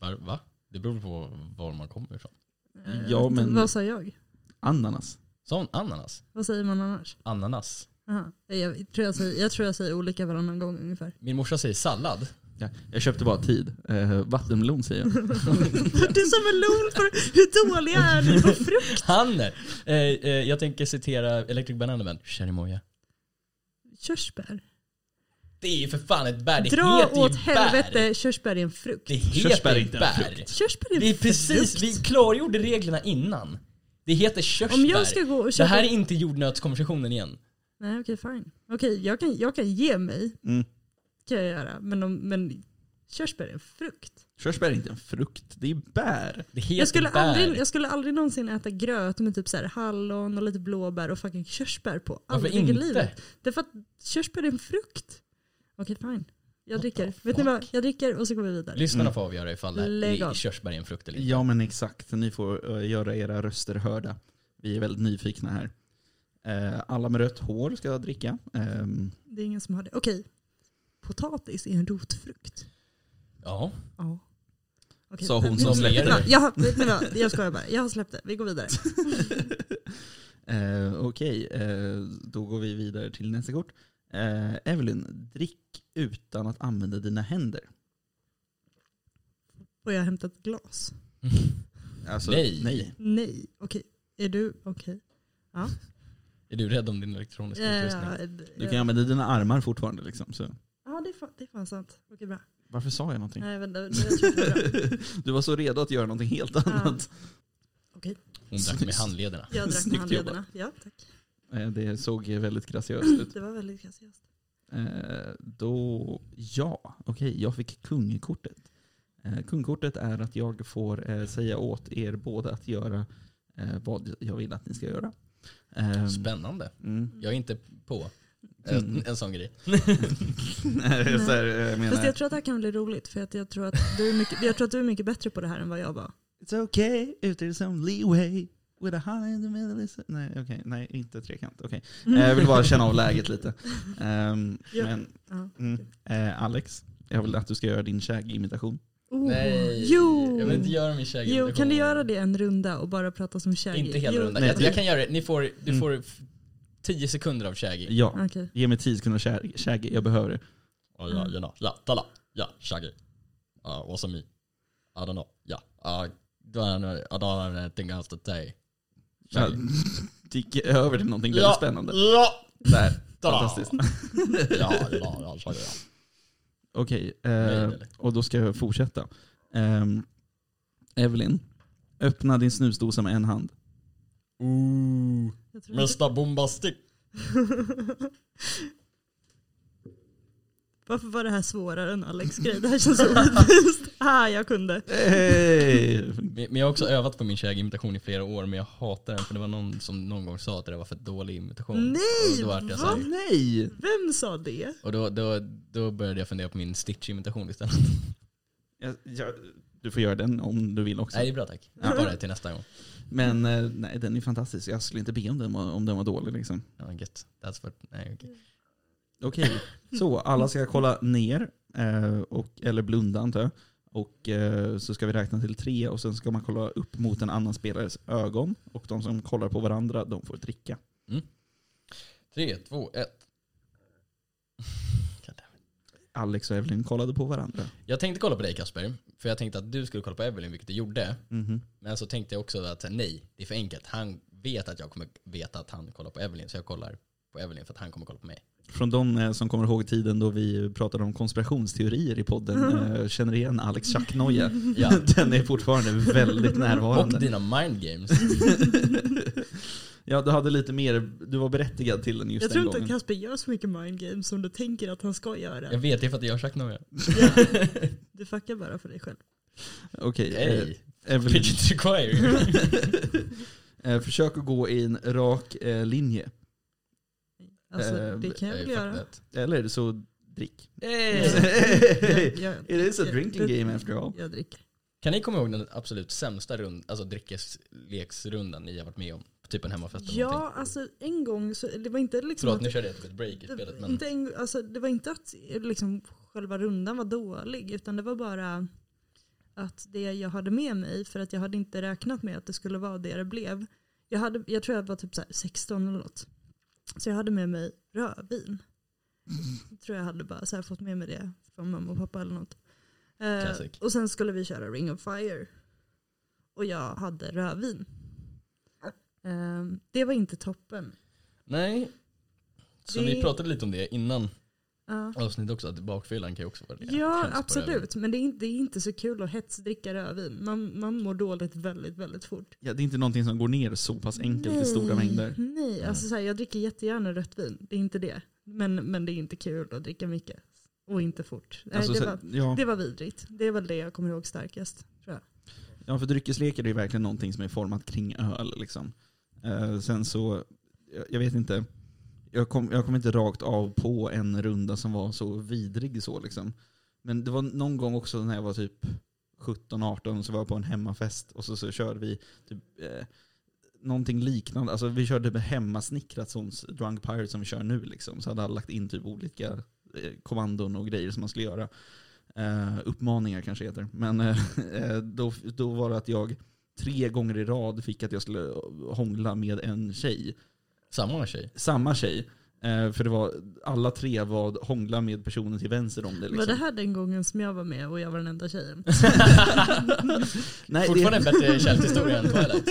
Va? Va? Det beror på var man kommer ifrån.
Ja, men-
Eh, Vad sa jag?
Ananas.
Sa hon ananas?
Vad säger man annars?
Ananas.
Aha. Eh, Jag, tror jag, säger, jag tror jag säger olika varannan gång ungefär.
Min morsa säger sallad.
Ja, jag köpte bara tid. Eh, vattenmelon säger jag.
Du är som en lol för hur dåliga är ni på frukt?
Han! Eh, eh, jag tänker citera Electric Banana Band. Cherimoya.
Körsbär.
Det är ju för fan ett bär. Det
Dra
heter ju
åt
bär.
helvete, körsbär är en frukt.
Det heter
Körsbär är
ju
inte en
bär.
frukt.
Körsbär är en
Det är
frukt.
precis, vi klargjorde reglerna innan. Det heter körsbär.
Om jag ska gå och
Det
köpa...
här är inte jordnötskonversationen igen.
Nej okej fine. Okej jag, kan, jag kan ge mig.
Mm.
kan jag göra. Men, om, men körsbär är en frukt.
Körsbär är inte en frukt, det är bär.
Det heter
Jag skulle,
bär.
aldrig, jag skulle aldrig någonsin äta gröt med typ så här hallon och lite blåbär och fucking körsbär på.
Varför
Aldrig i
inte?
livet. Därför att körsbär är en frukt. Okej fine. Jag
What
dricker.
the
Vet ni vad?
fuck?
Jag dricker och så går vi vidare.
Lyssnarna
Mm.
får avgöra ifall det här
Lägg
är
av.
körsbär är en frukt eller inte.
Ja men exakt, ni får eh, göra era röster hörda. Vi är väldigt nyfikna här. Eh, alla med rött hår ska dricka. Ehm,
Det är ingen som har det. Okej. Potatis är en rotfrukt.
Ja.
Ja. Okej,
Sa hon
men-
som
Som
släppte
ler.
det.
Ja, Jag, vet ni vad? jag skojar bara. Jag har släppt det. Vi går vidare.
Eh, Okej, eh, då går vi vidare till nästa kort. Eh, Evelyn, drick utan att använda dina händer.
Och jag har hämtat glas.
Alltså,
Nej.
nej.
Nej. Okej. Är du okej?
Är du rädd om din elektroniska
Eh,
utrustning?
Ja,
Du kan använda dina armar fortfarande. Liksom, så.
Ja, det är fan, det är fan sant. Okej, bra.
Varför sa jag
Mm.
någonting?
Nej, vänta, jag tror att det är bra.
du var så redo att göra någonting helt annat.
Hon drack med handlederna.
Jag drack
Snyggt
med handlederna. Ja, tack.
Eh, det såg väldigt graciöst ut.
Det var väldigt graciöst.
Eh, då, ja, okej, jag fick kungkortet. Eh, kungkortet är att jag får eh, säga åt er båda att göra eh, vad jag vill att ni ska göra. Ehm,
Spännande.
mm.
Jag är inte på Eh,
Mm.
en, en sån grej.
Oh,
Nej, så här, jag
Fast
menar,
jag tror att det här kan bli roligt för att jag, tror att du är mycket, jag tror att du är mycket bättre på det här än vad jag var.
It's okay if there's some leeway with a high in the middle. Is... Nej, okej, nej, inte trekant. Okej.
Mm.
Eh, jag vill bara känna av läget lite. Ehm,
Ja.
men,
Ja.
mm, eh, Alex, jag vill att du ska göra din kägimitation.
Oh,
Nej,
Jo!
jag vill inte göra min
jo,
kägelimitation.
kan du göra det en runda och bara prata som kägg?
Inte hela
jo.
rundan.
Nej,
Jag,
det-
jag kan göra det. Ni får, du
Mm.
får f- 10 sekunder av kägel.
Ja,
Okej.
ge mig 10 sekunder käg- kägi, jag behöver det.
Ja, ja, ja, ja, tala, ja, kägel. Uh, what's me? I don't know. Ja, yeah. I don't know I don't know anything else to say.
Ja,
Verkligen.
det gick över till någonting väldigt spännande.
Ja,
Där.
Ja.
Fantastiskt.
ja, det var alltså, ja.
Okej,
Nej,
eh,
nej, nej.
och då ska jag fortsätta. Eh, Evelyn, öppna din snusdosa med en hand.
Ooh,
Jag tror inte-
Mr Bombastic.
Varför var det här svårare än Alex grej? Det här känns så orättvist. ah, jag kunde.
Hey!
Men men jag har också övat på min kägimitation i flera år men jag hatar den för det var någon som någon gång sa att det där var för dålig imitation.
Nej,
Och då vart jag så
va?
här-
nej!
Vem sa det?
Och då, då, då började jag fundera på min Stitch-imitation istället.
Jag, jag, du får göra den om du vill också.
Nej det är bra tack. Jag tar det till nästa gång.
Men eh, nej, den är fantastisk. Jag skulle inte be om den var, om den var dålig. Liksom.
Ja, gött. That's what, nej, okej.
Okej, så alla ska kolla ner, eh, och, eller blunda antar jag. Och eh, så ska vi räkna till tre och sen ska man kolla upp mot en annan spelares ögon. Och de som kollar på varandra, de får dricka.
Tre, två, ett. God damn.
Alex och Evelyn kollade på varandra.
Jag tänkte kolla på dig Kasper, för jag tänkte att du skulle kolla på Evelyn, vilket du gjorde.
Mhm.
Men så tänkte jag också att nej, det är för enkelt. Han vet att jag kommer veta att han kollar på Evelyn, så jag kollar på Evelyn för att han kommer kolla på mig.
Från de eh, som kommer ihåg tiden då vi pratade om konspirationsteorier i podden eh, känner igen Alex tjacknoja.
Ja.
Den är fortfarande väldigt
Och
närvarande.
dina mind games.
Ja, du hade lite mer, du var berättigad till den just
jag
den
tror inte
gången.
att Kasper gör så mycket mind games som du tänker att han ska göra.
Jag vet, det är för att jag har sagt några.
Du fuckar bara för dig själv.
Okej, eh,
Hey,
Evelyn.
Bridget require.
Eh, försök att gå i en rak eh, linje.
Alltså,
Eh,
det kan jag väl göra.
Eller så drick.
Jag-
It
jag-
is a
jag-
drinking
det-
game after all.
Jag dricker.
Kan ni komma ihåg den absolut sämsta rund, alltså dryckesleksrundan ni har varit med om? Typ en hemmafest eller någonting.
Ja, alltså en gång så, det var inte liksom
Förlåt,
att,
nu körde jag typ ett break i spelet. Men
inte en, alltså, det var inte att liksom, själva rundan var dålig, utan det var bara att det jag hade med mig, för att jag hade inte räknat med att det skulle vara det det blev. Jag, hade, jag tror jag var typ så här 16 eller något. Så jag hade med mig rödvin.
Mm.
Jag tror jag hade bara så här fått med mig det från mamma och pappa eller något. Eh,
Classic.
och sen skulle vi köra Ring of Fire. Och jag hade rödvin. Eh, det var inte toppen.
nej. Så
Det-
vi pratade lite om det innan
Ja.
avsnittet också, att bakfyllan kan ju också vara det.
Ja,
Hemskt på röven.
absolut. Men det är, inte, det är inte så kul att hetsdricka rödvin. Man, man mår dåligt väldigt, väldigt fort.
Ja, det är inte någonting som går ner så pass enkelt i stora
Nej,
mängder.
Nej,
Mm.
alltså så här, jag dricker jättegärna rött vin. Det är inte det. Men, men det är inte kul att dricka mycket. Och inte fort. Nej,
Alltså,
det,
så-
var,
ja,
det var vidrigt. Det var det jag kommer ihåg starkast.
ja, för dryckeslekar är ju verkligen någonting som är format kring öl. Liksom. Eh, sen så, jag, jag vet inte. Jag kom, jag kom inte rakt av på en runda som var så vidrig så liksom. Men det var någon gång också när jag var typ 17-18 så var jag på en hemmafest och så, så körde vi typ, eh, någonting liknande. Alltså vi körde med hemmasnickrat sånt Drunk Pirate som vi kör nu liksom. Så hade alla lagt in typ olika eh, kommandon och grejer som man skulle göra. Eh, uppmaningar kanske heter. Men eh, eh, då, då var det att jag tre gånger i rad fick att jag skulle hångla med en tjej
Samma tjej.
samma tjej. Eh, för det var, alla tre var hångla med personen till vänster om det. Liksom.
Var det här den gången som jag var med och jag var den enda tjejen?
Nej,
Fortfarande en bättre kärlekshistoria än Twilight.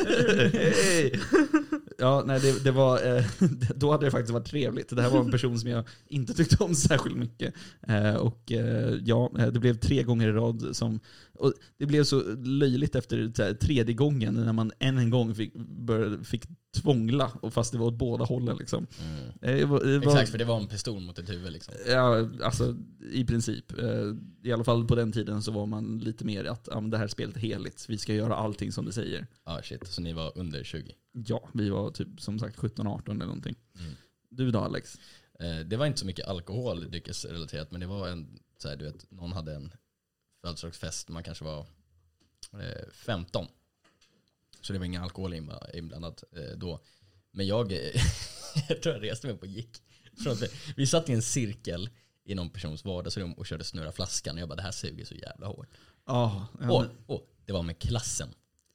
Hej! Ja, nej, det, det var, eh, då hade det faktiskt varit trevligt. Det här var en person som jag inte tyckte om särskilt mycket. Eh, och eh, ja, eh, det blev tre gånger i rad som... Och det blev så löjligt efter så här, tredje gången när man än en gång fick, började, fick tvångla, och fast det var åt båda hållen. Liksom.
Mm.
Eh, Det var, det var,
Exakt, för det var en pistol mot ett huvud liksom.
Ja, alltså i princip. Eh, I alla fall på den tiden så var man lite mer att ja, men det här spelet är heligt. Vi ska göra allting som det säger.
Ja, Ah, shit. Så ni var under 20.
Ja, vi var typ som sagt 17-18 eller någonting.
Mm.
Du då Alex?
Eh, Det var inte så mycket alkohol dryckesrelaterat, men det var en, så här, du vet, någon hade en födelsedagsfest, man kanske var eh, 15. Så det var ingen alkohol inba- inblandat eh, då. Men jag, eh, jag tror jag reste mig upp och gick. Från att vi- Vi satt i en cirkel i någon persons vardagsrum och körde snurra flaskan och jag bara det här suger så jävla hårt.
Ja,
Åh, oh, åh, det var med klassen.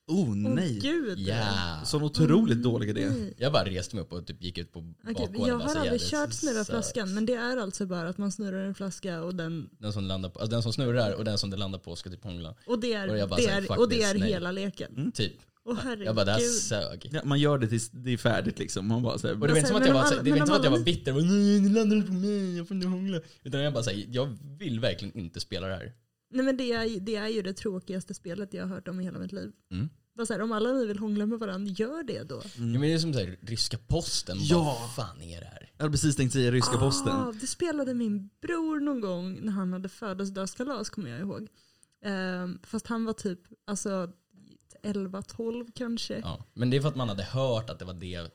oh
Åh,
nej.
gud.
Yeah.
Sån otroligt dålig idé.
Nej.
Jag bara reste mig upp och typ gick ut på
Okej,
bakgården.
men jag
och bara,
har
så
aldrig
jävligt
kört snurra
så-
flaskan, men det är alltså bara att man snurrar en flaska och, den,
Den som, landar på, alltså den som snurrar och den som det landar på ska typ hångla.
och det är,
Och jag bara
det
så här,
är,
fuck
och det
this,
är
nej.
hela leken.
Typ.
Åh
Jag bara, det här
herregud.
sög.
Ja, man gör det tills det är färdigt liksom. Man bara så
Och
här,
det var
Men
inte
så-
som att
men
jag
om
var, så-
alla-
det var, inte
alltså, men om
som att jag
alla
var
ni-
bitter. Och, bara, nej, ni landade på mig, jag får inte hångla. Utan jag bara såhär, jag vill verkligen inte spela det här.
Nej, men det, är, det är ju det tråkigaste spelet jag har hört om i hela mitt liv.
Mm.
Bara så här, om alla ni vill hångla med varandra, gör det då.
Ja, men det är som såhär, ryska posten.
Ja.
Vad fan är det här?
jag hade precis tänkt säga ryska posten.
Ah, det spelade min bror någon gång när han hade födelsedagskalas kommer jag ihåg. Ehm, fast han var typ alltså, 11-12 kanske.
Ja. Men det är för att man hade hört att det var det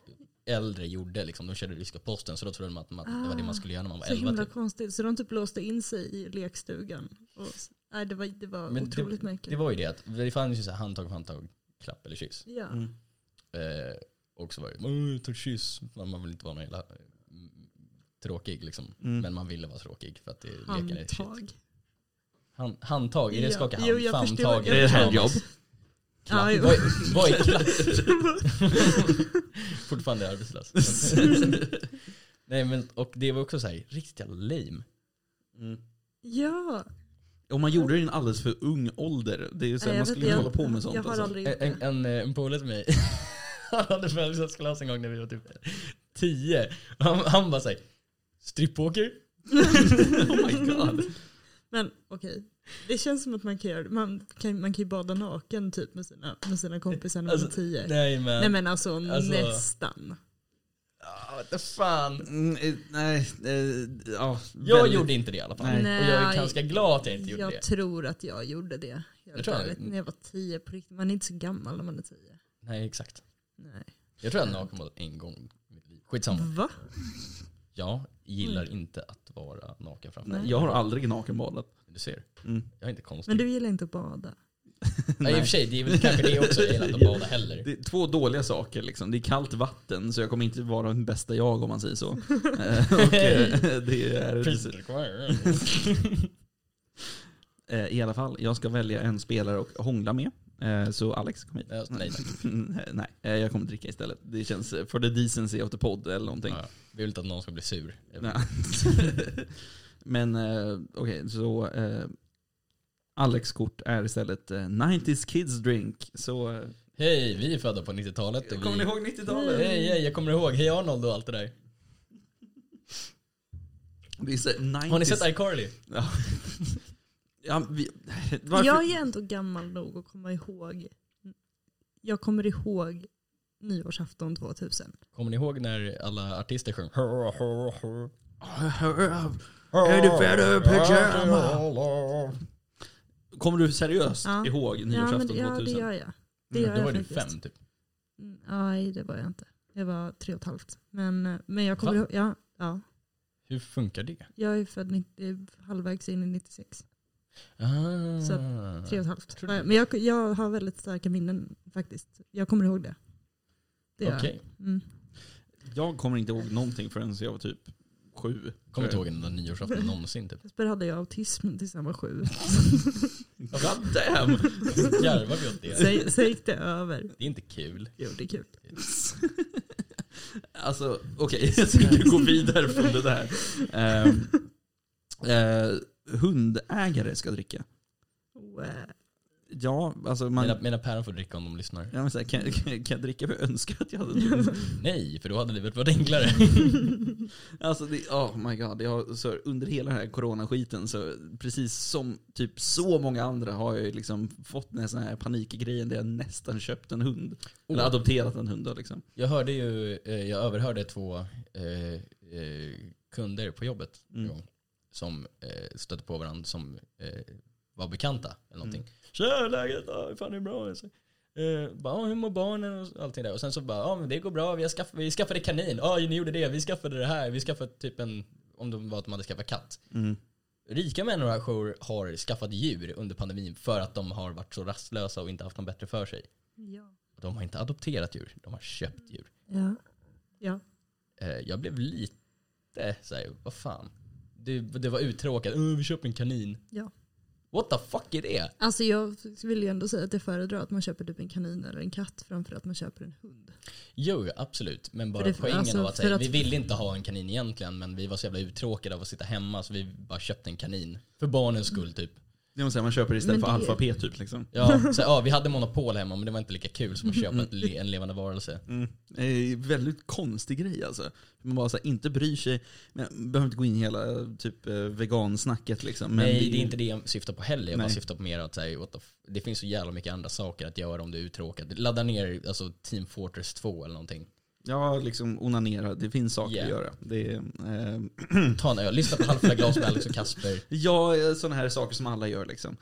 äldre gjorde. Liksom. De körde ryska posten så då trodde man att man, det var det man skulle göra när man var
Ah, så
11.
himla
Typ.
konstigt. Så de typ låste in sig i lekstugan. Och, nej, det var, det var
Men det-
otroligt märkligt.
Det var ju det att det fanns ju så här handtag, handtag, klapp eller kyss.
ja.
Mm.
Eh, och så var det, "Åh, ta ett kyss. Man man vill inte vara någon jävla mm, tråkig liksom.
Mm.
Men man ville vara tråkig för att det, leken är shit.
Handtag.
Han, handtag, är det
Ja.
skaka
Jo,
hand?
jag förstår.
Famntag?
Det är
handjobb.
Klapp.
Ja, jo.
Vad är- Vad är klapp? Fortfarande arbetslös. Nej men och det var också så här riktigt jävla lame.
Mm.
Ja.
Om man gjorde det i en alldeles för ung ålder. Det är ju så här,
Nej, jag Eh,
man
vet inte,
skulle inte
jag-
hålla på med sånt.
Jag har
alltså.
aldrig gjort det.
En, en, eh, en polare till mig, han hade födelsedagskalas en gång när vi var typ 10. Han, han bara såhär, strippåker?
Oh my god.
Men okej, det känns som att man kan göra Man kan, man kan ju bada naken typ med sina, med sina kompisar när man är
Alltså,
tio.
Nej
Nej,
men,
men alltså,
Alltså-
nästan.
Ah, what the fan.
Mm, eh, nej, eh, ja,
Jag
väldigt-
gjorde inte det i alla fall.
Nej.
Och jag är ganska glad att jag inte gjorde
jag
det.
tror att jag gjorde det. Jag,
Jag tror jag-
när jag var tio på riktigt. Man är inte så gammal när man är tio.
Nej exakt.
Nej.
Jag tror jag nakenbad en gång i mitt liv. Skitsamma.
Va?
Jag gillar inte att vara naken framför
Nej, jag har aldrig nakenbadat.
Du ser,
Mm.
jag är inte konstig.
Men du gillar inte att bada.
Nej i och för sig, det är väl kanske det också. Jag gillar inte att bada heller.
Det är två dåliga saker. Liksom. Det är kallt vatten, så jag kommer inte vara den bästa jag om man säger så. Eh, och, eh, det är,
Peter Quire.
Eh, I alla fall, jag ska välja en spelare och hångla med. Eh, Så Alex, kom hit.
Ja, nej, tack.
Nej, eh, jag kommer dricka istället. Det känns eh, for the decency of the pod eller någonting.
Ja, vi vill inte att någon ska bli sur.
Nej. Men eh, okej, så eh, Alex kort är istället eh, 90s kids drink. Så eh,
Hej, vi är födda på 90-talet. och
kommer ni
vi...
ihåg 90-talet?
Hej, hej, jag kommer ihåg. Hej Arnold och allt det där.
Det är så 90s.
Har ni sett iCarly?
Ja. ja, vi, varför?
Jag är ändå gammal nog att komma ihåg. Jag kommer ihåg nyårsafton 2000.
Kommer ni ihåg när alla artister sjöng?
Är det väder, pyjama? Kommer du seriöst
Ja.
ihåg
Ja,
nyårsafton
men, ja det
2000?
gör jag. Det
Mm,
gör
Då var
jag
du
faktiskt.
fem typ.
Mm, Nej, det var jag inte. Jag var tre och ett halvt. Men, eh, men jag kommer
Va?
ihåg, ja, ja.
Hur funkar det?
Jag är född 90, halvvägs in i 96.
Ah.
Så Tre och ett halvt.
Tror
Ja,
du-
Men jag, jag har väldigt starka minnen faktiskt. Jag kommer ihåg det. Det gör
Okej.
jag. Mm.
Jag kommer inte ihåg någonting förrän jag var typ sju.
Kommer inte ihåg en enda nyårsafton någonsin typ.
Jesper hade ju autism tills han var sju.
God damn!
Jävlar vad gott det är.
Sen, sen gick det över.
Det är inte kul.
Jo, det är kul.
Alltså okej, jag ska gå vidare från det där. Ehm, eh, hundägare ska dricka.
Wow.
Ja, alltså man...
Mina, mina päron får dricka om de lyssnar.
Jag menar, så här, kan, kan, kan jag dricka för jag önskar att jag hade en hund?
Nej, för då hade livet varit enklare.
Alltså, det, oh my god. Jag, har- så, under hela den här coronaskiten, så precis som typ så många andra har jag ju liksom fått den här, sån här panikgrejen där jag nästan köpt en hund. Eller
Oh.
adopterat en hund då, liksom.
Jag hörde ju, eh, jag överhörde två eh, eh, kunder på jobbet en
Mm.
gång som eh, stötte på varandra som eh, var bekanta eller någonting. Tja, läget? Ja, hur fan är det bra? Alltså. Eh, bara, "Ja, hur mår barnen och allting där. Och sen så bara, ja men det går bra, vi, har skaff vi skaffade kanin. Ja, ni gjorde det, vi skaffade det här. Vi skaffade typ en, om det var att de hade skaffat katt.
Mm.
Rika människor har skaffat djur under pandemin för att de har varit så rastlösa och inte haft något bättre för sig.
Ja.
De har inte adopterat djur, de har köpt djur.
Ja. ja.
Eh, jag blev lite såhär, vad fan. Det, det var uttråkat, "Åh, vi köper en kanin.
Ja.
What the fuck är det?
Alltså jag vill ju ändå säga att jag föredrar att man köper typ en kanin eller en katt framför att man köper en hund.
Jo, absolut. Men bara
det-
poängen
alltså,
av att,
för
säga,
att-
vi ville inte ha en kanin egentligen men vi var så jävla uttråkade av att sitta hemma så vi bara köpte en kanin. För barnens skull typ.
Det man, säga, man köper istället
Men
för
det-
alfabet typ. Liksom.
Ja, så, ja, vi hade monopol hemma men det var inte lika kul som att köpa ett, le- en levande varelse.
Mm. Det är en väldigt konstig grej alltså. Man bara så här, inte bryr sig. Men jag behöver inte gå in i hela typ eh, vegansnacket liksom. Men
Nej,
ju-
det är inte det jag syftar på heller. Jag bara
Nej.
syftar på mer att säga, what the f- det finns så jävla mycket andra saker att göra om du är uttråkad. Ladda ner alltså, Team Fortress 2 eller någonting.
Ja, liksom onanera. Det finns saker
Yeah.
att göra. Det är, eh,
Ta en öl, lyssna på Halvfulla glas med Alex och Kasper.
ja, sådana här saker som alla gör liksom.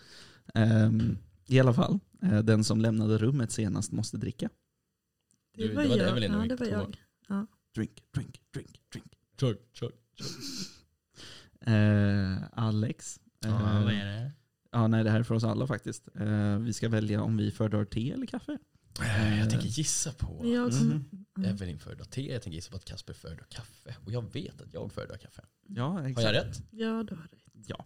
Ehm, I alla fall, eh, den som lämnade rummet senast måste dricka.
Du, det var
jag.
Evelyn
ja,
och
det var
Victoria.
jag.
Drink, drink, drink, drink.
Chug, chug.
Eh, Alex. eh,
vad är det?
ja, nej, det här är för oss alla faktiskt. Eh, vi ska välja om vi föredrar te eller kaffe.
Eh, Jag tänker gissa på
Jag kom,
Mhm.
ja.
Evelyn föredrar te, jag tänker gissa på att Kasper föredrar kaffe. Och jag vet att jag föredrar kaffe.
Ja,
Har
exakt.
jag rätt?
ja, du har rätt.
Ja.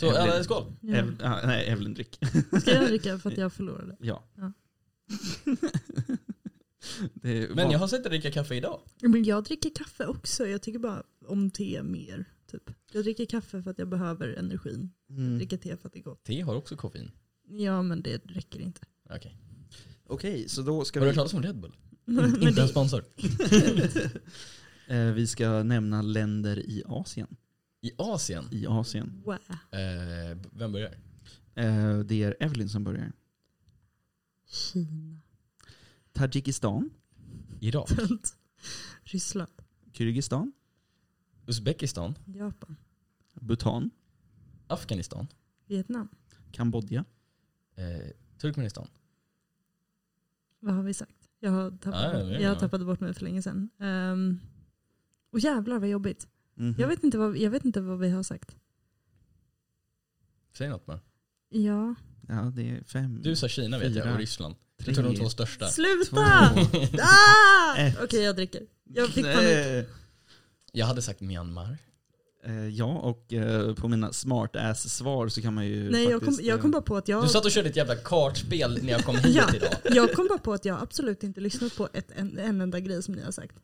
Så
Evelyn-
äh, skål!
Ja.
Ev- ah, nej, Evelyn drick.
Ska jag dricka för att jag förlorade?
Ja.
Ja.
det är
Men jag har sett dig dricka kaffe idag.
Men jag dricker kaffe också. Jag tycker bara om te mer. Typ. Jag dricker kaffe för att jag behöver energin.
Mm.
Dricker te för att det är gott.
Te har också koffein.
Ja men det räcker inte.
Okej.
Okej, så då ska
Har du
vi...
hört talas om Red Bull?
Mm, Men
Inte en
det,
sponsor.
Eh, vi ska nämna länder i Asien.
I Asien?
I Asien.
wow.
Eh, b- vem börjar?
Eh, det är Evelyn som börjar.
Kina.
Tadzjikistan,
Irak?
Tönt. Ryssland.
Kyrgyzstan,
Uzbekistan?
Japan.
Bhutan,
Afghanistan?
Vietnam.
Kambodja.
Eh, Turkmenistan?
Vad har vi sagt? Jag har tappat,
Ja, ja, ja.
jag har tappat bort mig för länge sedan. Um, och jävlar vad jobbigt.
Mhm.
Jag vet, inte vad, jag vet inte vad vi har sagt.
Säg något bara.
Ja.
Ja, det är fem.
Du sa Kina vet jag
Fyra.
och Ryssland.
tre,
Jag tror de två största.
två.
Sluta! Ah!
Ett.
Okej jag dricker. Jag fick panik.
Nej.
Jag hade sagt Myanmar.
Eh, Ja, och eh, på mina smart-ass-svar så kan man ju
Nej jag kom,
faktiskt,
jag kom
eh,
bara på att jag...
Du satt och körde ett jävla kartspel när jag kom hit
Ja.
idag.
Jag kom bara på att jag absolut inte lyssnat på ett, en, en enda grej som ni har sagt.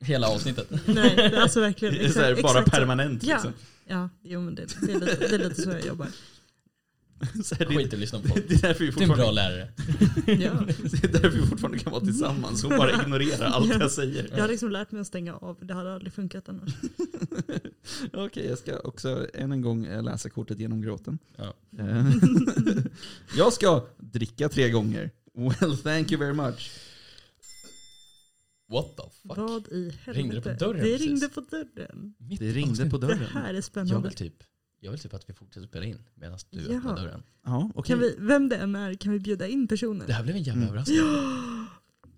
Hela avsnittet.
Nej, alltså verkligen.
det är
Exakt,
så här, bara
exakt så.
permanent
Ja.
liksom.
Ja, jo, men det, det, är lite, det är lite så jag jobbar.
Så här, det,
Skit i att lyssna på.
det är därför vi
Du är en bra
fortfarande,
lärare.
Ja.
det är därför vi fortfarande kan vara tillsammans och bara ignorera allt jag säger.
Jag har liksom lärt mig att stänga av. Det hade aldrig funkat annars.
Okej, jag ska också än en gång eh, läsa kortet genom gråten.
Ja.
Eh, jag ska dricka tre gånger. Well, thank you very much.
What the fuck?
Vad i helvete?
Ringde det på dörren
Det
precis?
ringde på dörren.
Mitt
Det ringde
avsnitt.
på
Det
dörren.
här är
Jag
spännande.
vill typ, jag vill typ att vi fortsätter spela in medan du
Ja.
öppnar dörren.
Ja, okej.
Kan vi, vem det än är, kan vi bjuda in
Det
personen?
här blev en jävla
Mm.
överraskning.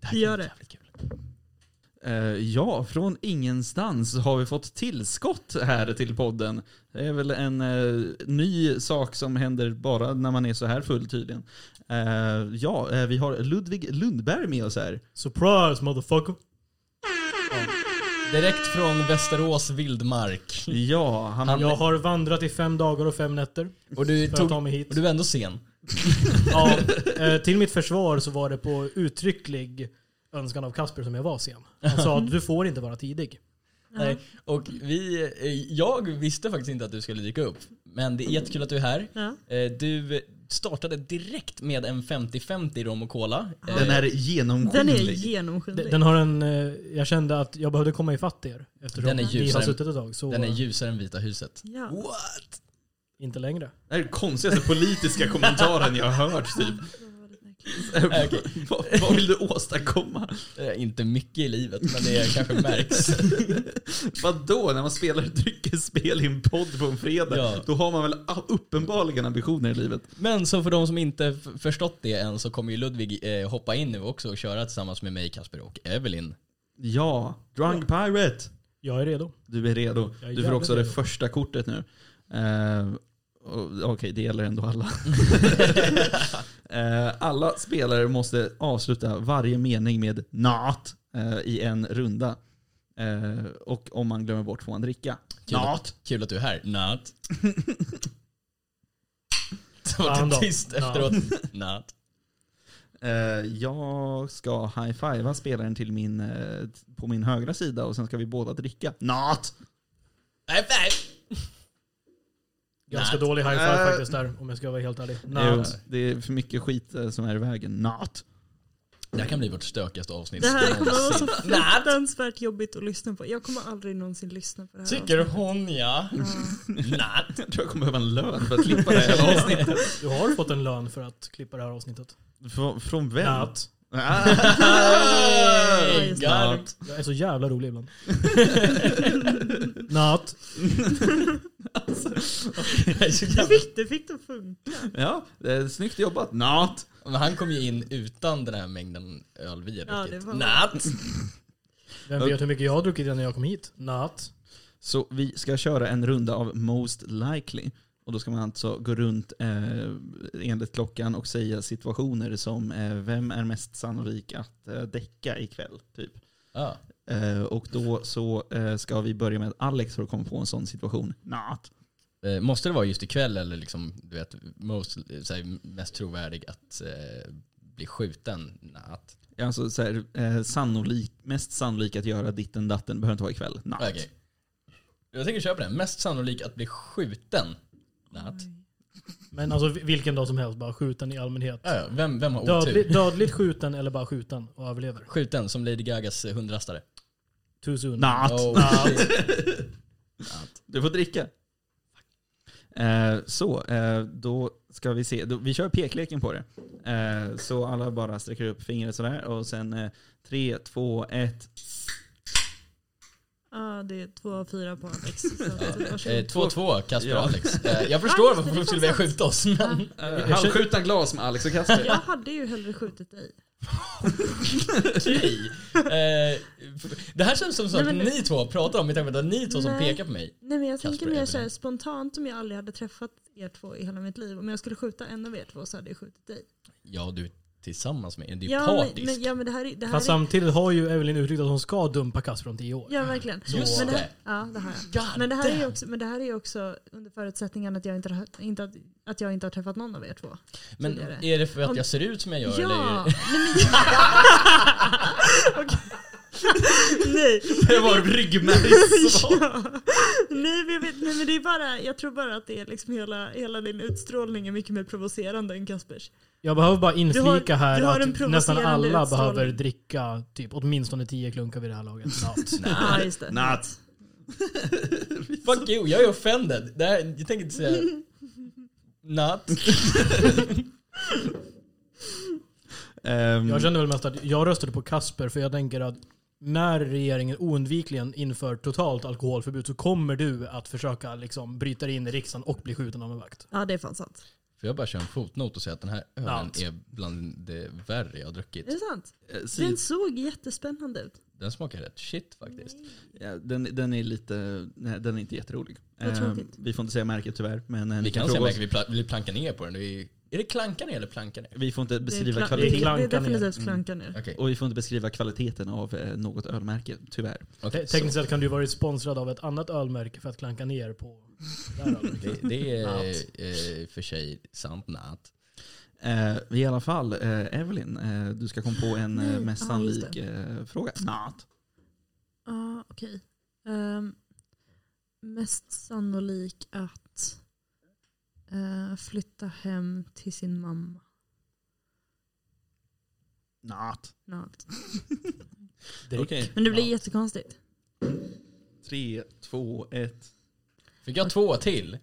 Det här
Vi
kan
gör
bli
det.
jävligt kul.
Eh, ja, från ingenstans har vi fått tillskott här till podden. Det är väl en eh, ny sak som händer bara när man är så här full tydligen. Eh, ja, eh, vi har Ludvig Lundberg med oss här.
Surprise motherfucker.
Direkt från Västerås vildmark.
Ja, Mm. han,
Jag har vandrat i fem dagar och fem nätter
Och du,
för att
tog,
ta mig hit.
och du var ändå sen.
Ja, eh, till mitt försvar så var det på uttrycklig önskan av Kasper som jag var sen. Han sa att du får inte vara tidig.
Ja.
Nej. Och vi, eh, jag visste faktiskt inte att du skulle dyka upp. Men det är jättekul att du är här.
Ja.
Eh, Du startade direkt med en 50-50 rom och cola. Eh,
den är genomskinlig.
Den är genomskinlig.
Den, den har en, eh, jag kände att jag behövde komma ifatt er eftersom
Den är
ni har
ljusare.
suttit ett tag. Så
den är ljusare än Vita huset.
Oh.
Ja.
inte längre.
Det här är den konstigaste politiska kommentaren jag har hört typ.
Okej.
vad, vad vill du åstadkomma?
Eh, Inte mycket i livet, men det kanske märks.
Vadå, när man spelar ett dryckesspel i en podd på en fredag,
Ja.
då har man väl a- uppenbarligen ambitioner i livet.
Men så för de som inte f- förstått det än så kommer ju Ludvig eh, hoppa in nu också och köra tillsammans med mig, Kasper och Evelyn.
Ja, Drunk Pirate!
Jag är redo.
Du är redo.
Jag är
Du får också det
jävligt redo.
första kortet nu. Eh, och- Okej, det gäller ändå alla. Eh, alla spelare måste avsluta varje mening med not eh, i en runda. Eh, och om man glömmer bort får man dricka.
Kul, att-
Not.
kul att du är här. Not. Så
Fan
var det
då.
tyst efteråt. Not.
Eh, jag ska high-fivea spelaren till min, eh, t- på min högra sida och sen ska vi båda dricka. Not!
High five!
Ganska
Nat.
dålig high five
Äh.
faktiskt där, om jag ska vara helt ärlig.
Jo,
Nat.
det är för mycket skit eh, som är i vägen. Not.
Det här kan bli vårt stökigaste avsnitt.
Det här kommer vara så
någonsin.
fruktansvärt jobbigt att lyssna på. Jag kommer aldrig någonsin lyssna på det här.
Tycker hon ja.
avsnittet.
Natt.
Jag tror jag kommer behöva en lön för att klippa det här avsnittet.
Du har fått en lön för att klippa det här avsnittet.
Från, från vem?
Nat.
Ah.
Ja, just det.
Garp.
Jag är så jävla rolig ibland. Nat.
Det är så
Det
jävla-
fick, det fick de funka.
Ja, det är snyggt jobbat. Not.
Men han kom ju in utan den här mängden öl vi
Ja,
har druckit.
det var-
Natt.
Vem vet hur mycket jag har druckit innan jag kom hit? Nat.
Så vi ska köra en runda av Most Likely. Och då ska man alltså gå runt eh, enligt klockan och säga situationer som eh, vem är mest sannolik att eh, däcka ikväll? Typ.
Ja.
Eh, och då så eh, ska vi börja med att Alex har kommit på en sån situation. Not.
Eh, Måste det vara just ikväll eller liksom, du vet, most, eh, så här, mest trovärdig att eh, bli skjuten? Natt.
Alltså så här, eh, sannolik, mest sannolik att göra ditten datten behöver inte vara ikväll. Not.
Okej. Jag tänker köpa den. Mest sannolik att bli skjuten. Natt.
Men alltså vilken dag som helst, bara skjuten i allmänhet.
Ja, ja. Vem, vem har otur?
Dödligt, dödligt skjuten eller bara skjuten och överlever.
Skjuten som Lady Gagas eh, hundrastare.
Too soon.
Not.
Oh, shit.
Du får dricka. Eh, så, eh, då ska vi se. Då, vi kör pekleken på det. Eh, så alla bara sträcker upp fingret sådär och sen eh, tre, två, ett.
Ja, det är två av fyra på Alex. Så
Ja.
varsågod.
Eh, 2-2 Kasper
Ja.
och Alex. Eh, jag
Ja,
förstår
just
varför
det,
folk
det
skulle
var
vilja skjuta oss. Men...
Eh, halvskjutna glas med Alex och
Jag
Kasper.
hade ju hellre skjutit dig.
Okej. Eh, f- det här känns som så
Nej,
att
men-
ni två pratar om med tanke på att det var ni två som
Nej.
pekar på mig.
Nej men jag
Kasper
tänker mer
Evelyn.
såhär spontant om jag aldrig hade träffat er två i hela mitt liv. Om jag skulle skjuta en av er två så hade jag skjutit dig.
Ja, du är tillsammans med Det är ju
Ja men,
partiskt.
men, ja, men det här är... Det här
Fast
är
samtidigt har ju Evelyn uttryckt att hon ska dumpa Kasper om tio år.
ja verkligen.
Just
men det. Här,
det.
ja det har jag.
God
Men det här är ju
damn.
också, men det här är ju också under förutsättningen att jag inte, har- inte, att- att jag inte har träffat någon av er två.
Men
tidigare.
är det för att
Om-
jag ser ut som jag gör? Eller är
Ja!
det...
Nej,
Det var ryggmärgssvar.
ja. nej, men jag vet, nej men det är bara, jag tror bara att det är liksom hela, hela din utstrålning är mycket mer provocerande än Kaspers.
Jag behöver bara
Du
inflika
har- du har
här
en
att nästan
provocerande
alla
utstrålning.
behöver dricka typ åtminstone tio klunkar vid det här laget. Nat.
Ja just det.
Natt.
Fuck you, jag är offended. Det här, jag tänker inte säga... Not.
Ehm,
Jag känner väl mest att jag röstade på Kasper för jag tänker att när regeringen oundvikligen inför totalt alkoholförbud så kommer du att försöka liksom bryta dig in i riksdagen och bli skjuten av en vakt.
Ja det är fan sant.
Får jag bara köra en fotnot och säga att den här ölen
Not.
är bland det värre jag har druckit.
Är det sant?
eh,
Den
Sid-
såg jättespännande ut.
Den smakar rätt shit faktiskt.
ja, den, den är lite, nej, den är inte jätterolig.
Vad
Ehm,
tråkigt.
vi får inte säga märket tyvärr. Men, eh, ni
Vi kan se
fråga
om
oss.
Mm. jag kan- vi pla- vi plankar ner på den. Det är, är det klanka ner eller planka ner?
vi får inte
kla-
beskriva
det är
kvaliteten.
det, är
klanka ner.
definitivt klanka ner.
Okej.
Och vi får inte beskriva kvaliteten av eh, något ölmärke, tyvärr.
okej,
Te- tekniskt sett kan du vara sponsrad av ett annat ölmärke för att klanka ner på det här
så.
ölmärket.
det, det är
Not.
eh, för sig sant natt.
Eh, I alla fall, eh, Evelyn, eh, du ska komma på en eh,
Nej,
mest
Mm, ja, just
sannolik eh, fråga. Not.
Ja, okej. Ehm, mest sannolik att eh, flytta hem till sin mamma.
Not.
Något.
Drick.
Men det blir jättekonstigt.
Tre, två, ett.
Fick jag två till?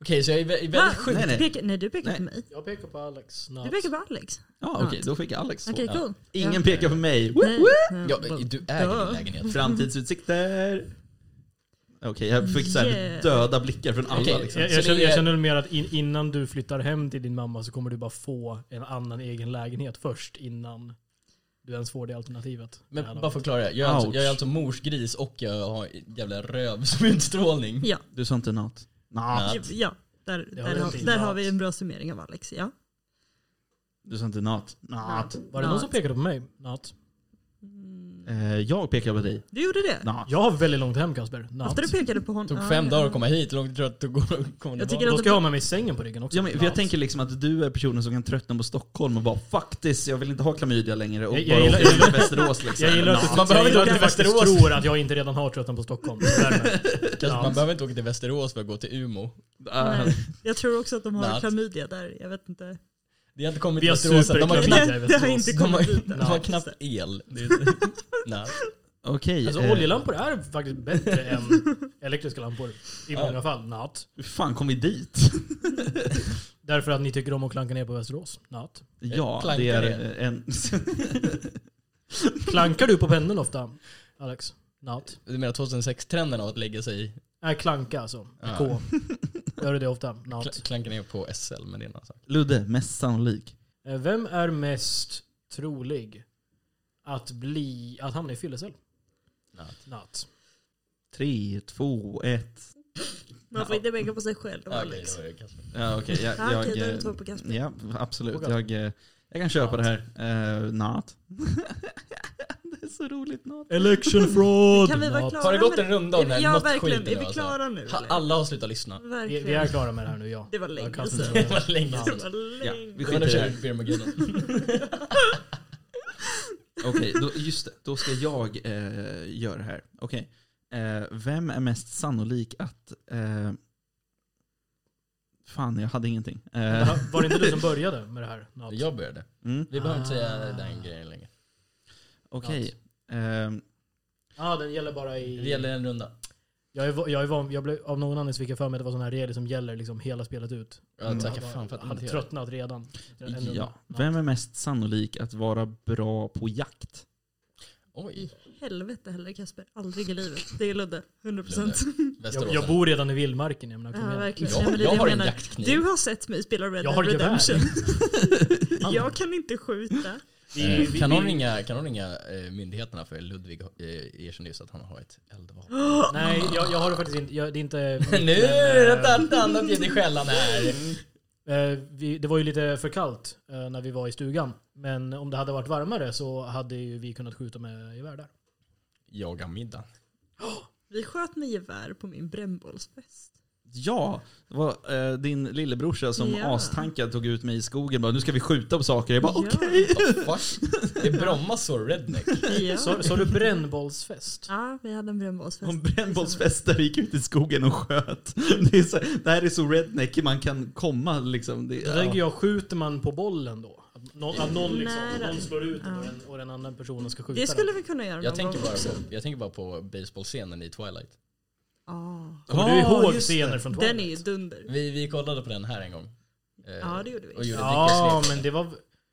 Okej, så jag är vä- är
Va?
väldigt sjuk.
Nej,
Du
nej.
pekar, nej, du pekar på mig.
Jag pekar på Alex. Nat.
Du pekar på Alex.
Ja, okej, då fick Alex två.
Okej, cool.
Ingen
Ja.
pekar på mig. Woo!
Nej, nej.
Ja, du äger din lägenhet.
Framtidsutsikter. Okej, jag fick så
Yeah.
här döda blickar från alla.
Okej.
Liksom.
Jag,
Så
jag, känner,
det är-
jag känner mer att in, innan du flyttar hem till din mamma så kommer du bara få en annan egen lägenhet först innan du ens får det alternativet. Det här
Men bara
laget.
för att klara det. Jag är, alltså,
Ouch.
jag är alltså morsgris och jag har jävla röv som utstrålning.
Ja,
Du sa inte not. Not.
Natt.
ja där,
har
där,
vi
har,
inte
där
innan.
har vi en bra summering av Alex. Ja.
Du sa inte not. Not.
Var det någon
Nat.
som pekade på mig? Nat.
Mm,
Eh, jag pekar på dig.
Du gjorde det?
Nå.
Jag har väldigt långt hem Kasper. Natt.
Efter du pekade på honom.
Det tog fem dagar att komma hit. Hur långt tror du att det går att komma
Jag
jag
tycker
tycker
Då ska jag ha med mig sängen på ryggen också.
Ja, men, för jag tänker liksom att du är personen som kan tröttna på Stockholm och bara faktiskt, jag vill inte ha klamydia längre och
Jag- jag
bara
gillar-
åka till Västerås liksom.
jag gillar
Nå.
att,
Man
du, jag
behöver
gillar att
inte
du
åka
faktiskt
till Västerås.
tror att jag inte redan har tröttnat på Stockholm. Det är därmed.
Man behöver inte åka till Västerås för att gå till Umeå.
Ah,
Nej, jag tror också att de har
Natt.
klamydia där. Jag vet inte.
Det har inte kommit
Vi
till
har
Västerås än. De har
superklamydia.
knappt,
i
Nej, det har
Västerås.
inte
de har,
kommit dit
de
än.
har
Nej.
knappt el. Det är- Nej.
Okej.
Alltså,
eh,
oljelampor är faktiskt bättre än elektriska lampor. I många fall. Natt.
Hur fan kom vi dit?
Därför att ni tycker om att klanka ner på Västerås. Natt.
Ja,
klankar
det är
det.
en...
Klankar du på pendeln ofta? Alex? Natt?
Du menar 2006-trenden av att lägga sig,
Nej, klanka alltså.
Ja.
K. Gör du det ofta?
kla-
Natt.
klanka ner på SL med dina saker?
Ludde, mest sannolik.
Eh, Vem är mest trolig att, bli, att hamna i fyllecell?
Natt.
Natt.
Tre, två, ett.
Man får
Ja.
inte peka på sig själv.
Ah,
Alex.
okej, då är det Kasper.
Ja, okej. jag-
Ja, okej,
jag,
då är det
eh,
två på Kasper.
Ja, absolut.
Okej.
Jag, eh, jag kan köpa det här. Uh, not. det är så roligt not.
Election fraud!
Kan vi vara
Natt.
klara
Har det gått
med
en runda om den här
Ja,
något
verkligen.
skiten
Är
nu,
vi
alltså?
klara nu?
Ha-
eller?
Alla har slutat lyssna.
Vi,
Verkligen.
vi är klara med det här nu, ja.
Det var länge
Jag kastar
sedan.
inte
Det var länge
Natt.
sedan.
Det var
Ja,
länge.
vi
Men nu
skiter i det.
kör
här.
vi Birmingham.
Okej, då, just det. Då ska jag eh, göra det här. Okej. Eh, vem är mest sannolik att... eh, fan, jag hade ingenting. Eh,
Jaha, Var det inte du som började med det här? Natt?
Jag började.
mm,
Vi behöver inte säga
Ah.
den grejen längre.
Okej. Eh,
ah, den gäller bara
Det
i...
gäller en
Mm.
runda.
Jag, är, va- jag, är van, jag blev av någon anledning så fick jag för mig att det var sådana här regler som gäller liksom hela spelet ut.
Jag tackar
bara-
fan för
hade
att ni trött.
tröttnat redan. En runda.
ja. Vem är mest sannolik att vara bra på jakt?
Oj,
Helvete heller Kasper. Aldrig i livet. Det är Ludde. 100%. procent.
Västerås.
Jag, jag bor redan i vildmarken. Jag, menar, kom
Ja,
igen.
verkligen.
Jag-
Nej, men det är
jag
det
har en
menar.
jaktkniv.
Du har sett mig spela Red
jag har
Dead
gevär.
Redemption. Jag kan inte skjuta.
Vi- Eh, vi-
Eh,
vi-
Kan någon
vi-
ringa, kan någon ringa eh, myndigheterna för Ludvig eh, erkände just att han har ett eldvapen.
Nej, jag, jag har det faktiskt inte. Jag, det är inte mitt,
nu
men, eh,
är det annat ljud i skällan här.
Eh, vi, det var ju lite för kallt eh, när vi var i stugan. Men om det hade varit varmare så hade ju vi kunnat skjuta med gevär där.
Jaga middag.
Vi sköt med gevär på min brännbollsfest.
Ja, det var eh, din lillebrorsa som
Ja.
astankad tog ut mig i skogen och bara nu ska vi skjuta på saker. Jag bara
Ja.
okej.
Fuck. Det är Bromma så redneck.
Ja.
Så, så du brännbollsfest?
ja, vi hade en brännbollsfest.
Om brännbollsfester gick ut i skogen och sköt. Det, är så, det här är så redneck man kan komma liksom. Det,
Då
ja.
tänker jag, skjuter man på bollen då? Att någon, att någon, liksom,
Nej, då.
någon slår ut den och
Ja.
den, och den andra personen ska skjuta
Det Mm. skulle vi kunna göra
Jag
någon
tänker
gång
bara
också.
på, jag tänker bara på baseballscenen i Twilight.
Ja.
den. Kommer du ihåg
just
scener
det.
från Twilight?
Den är ju dunder.
Vi, vi kollade på den här en gång. Eh,
Ja, det gjorde vi.
Och gjorde
Ja,
Dickens
men det var...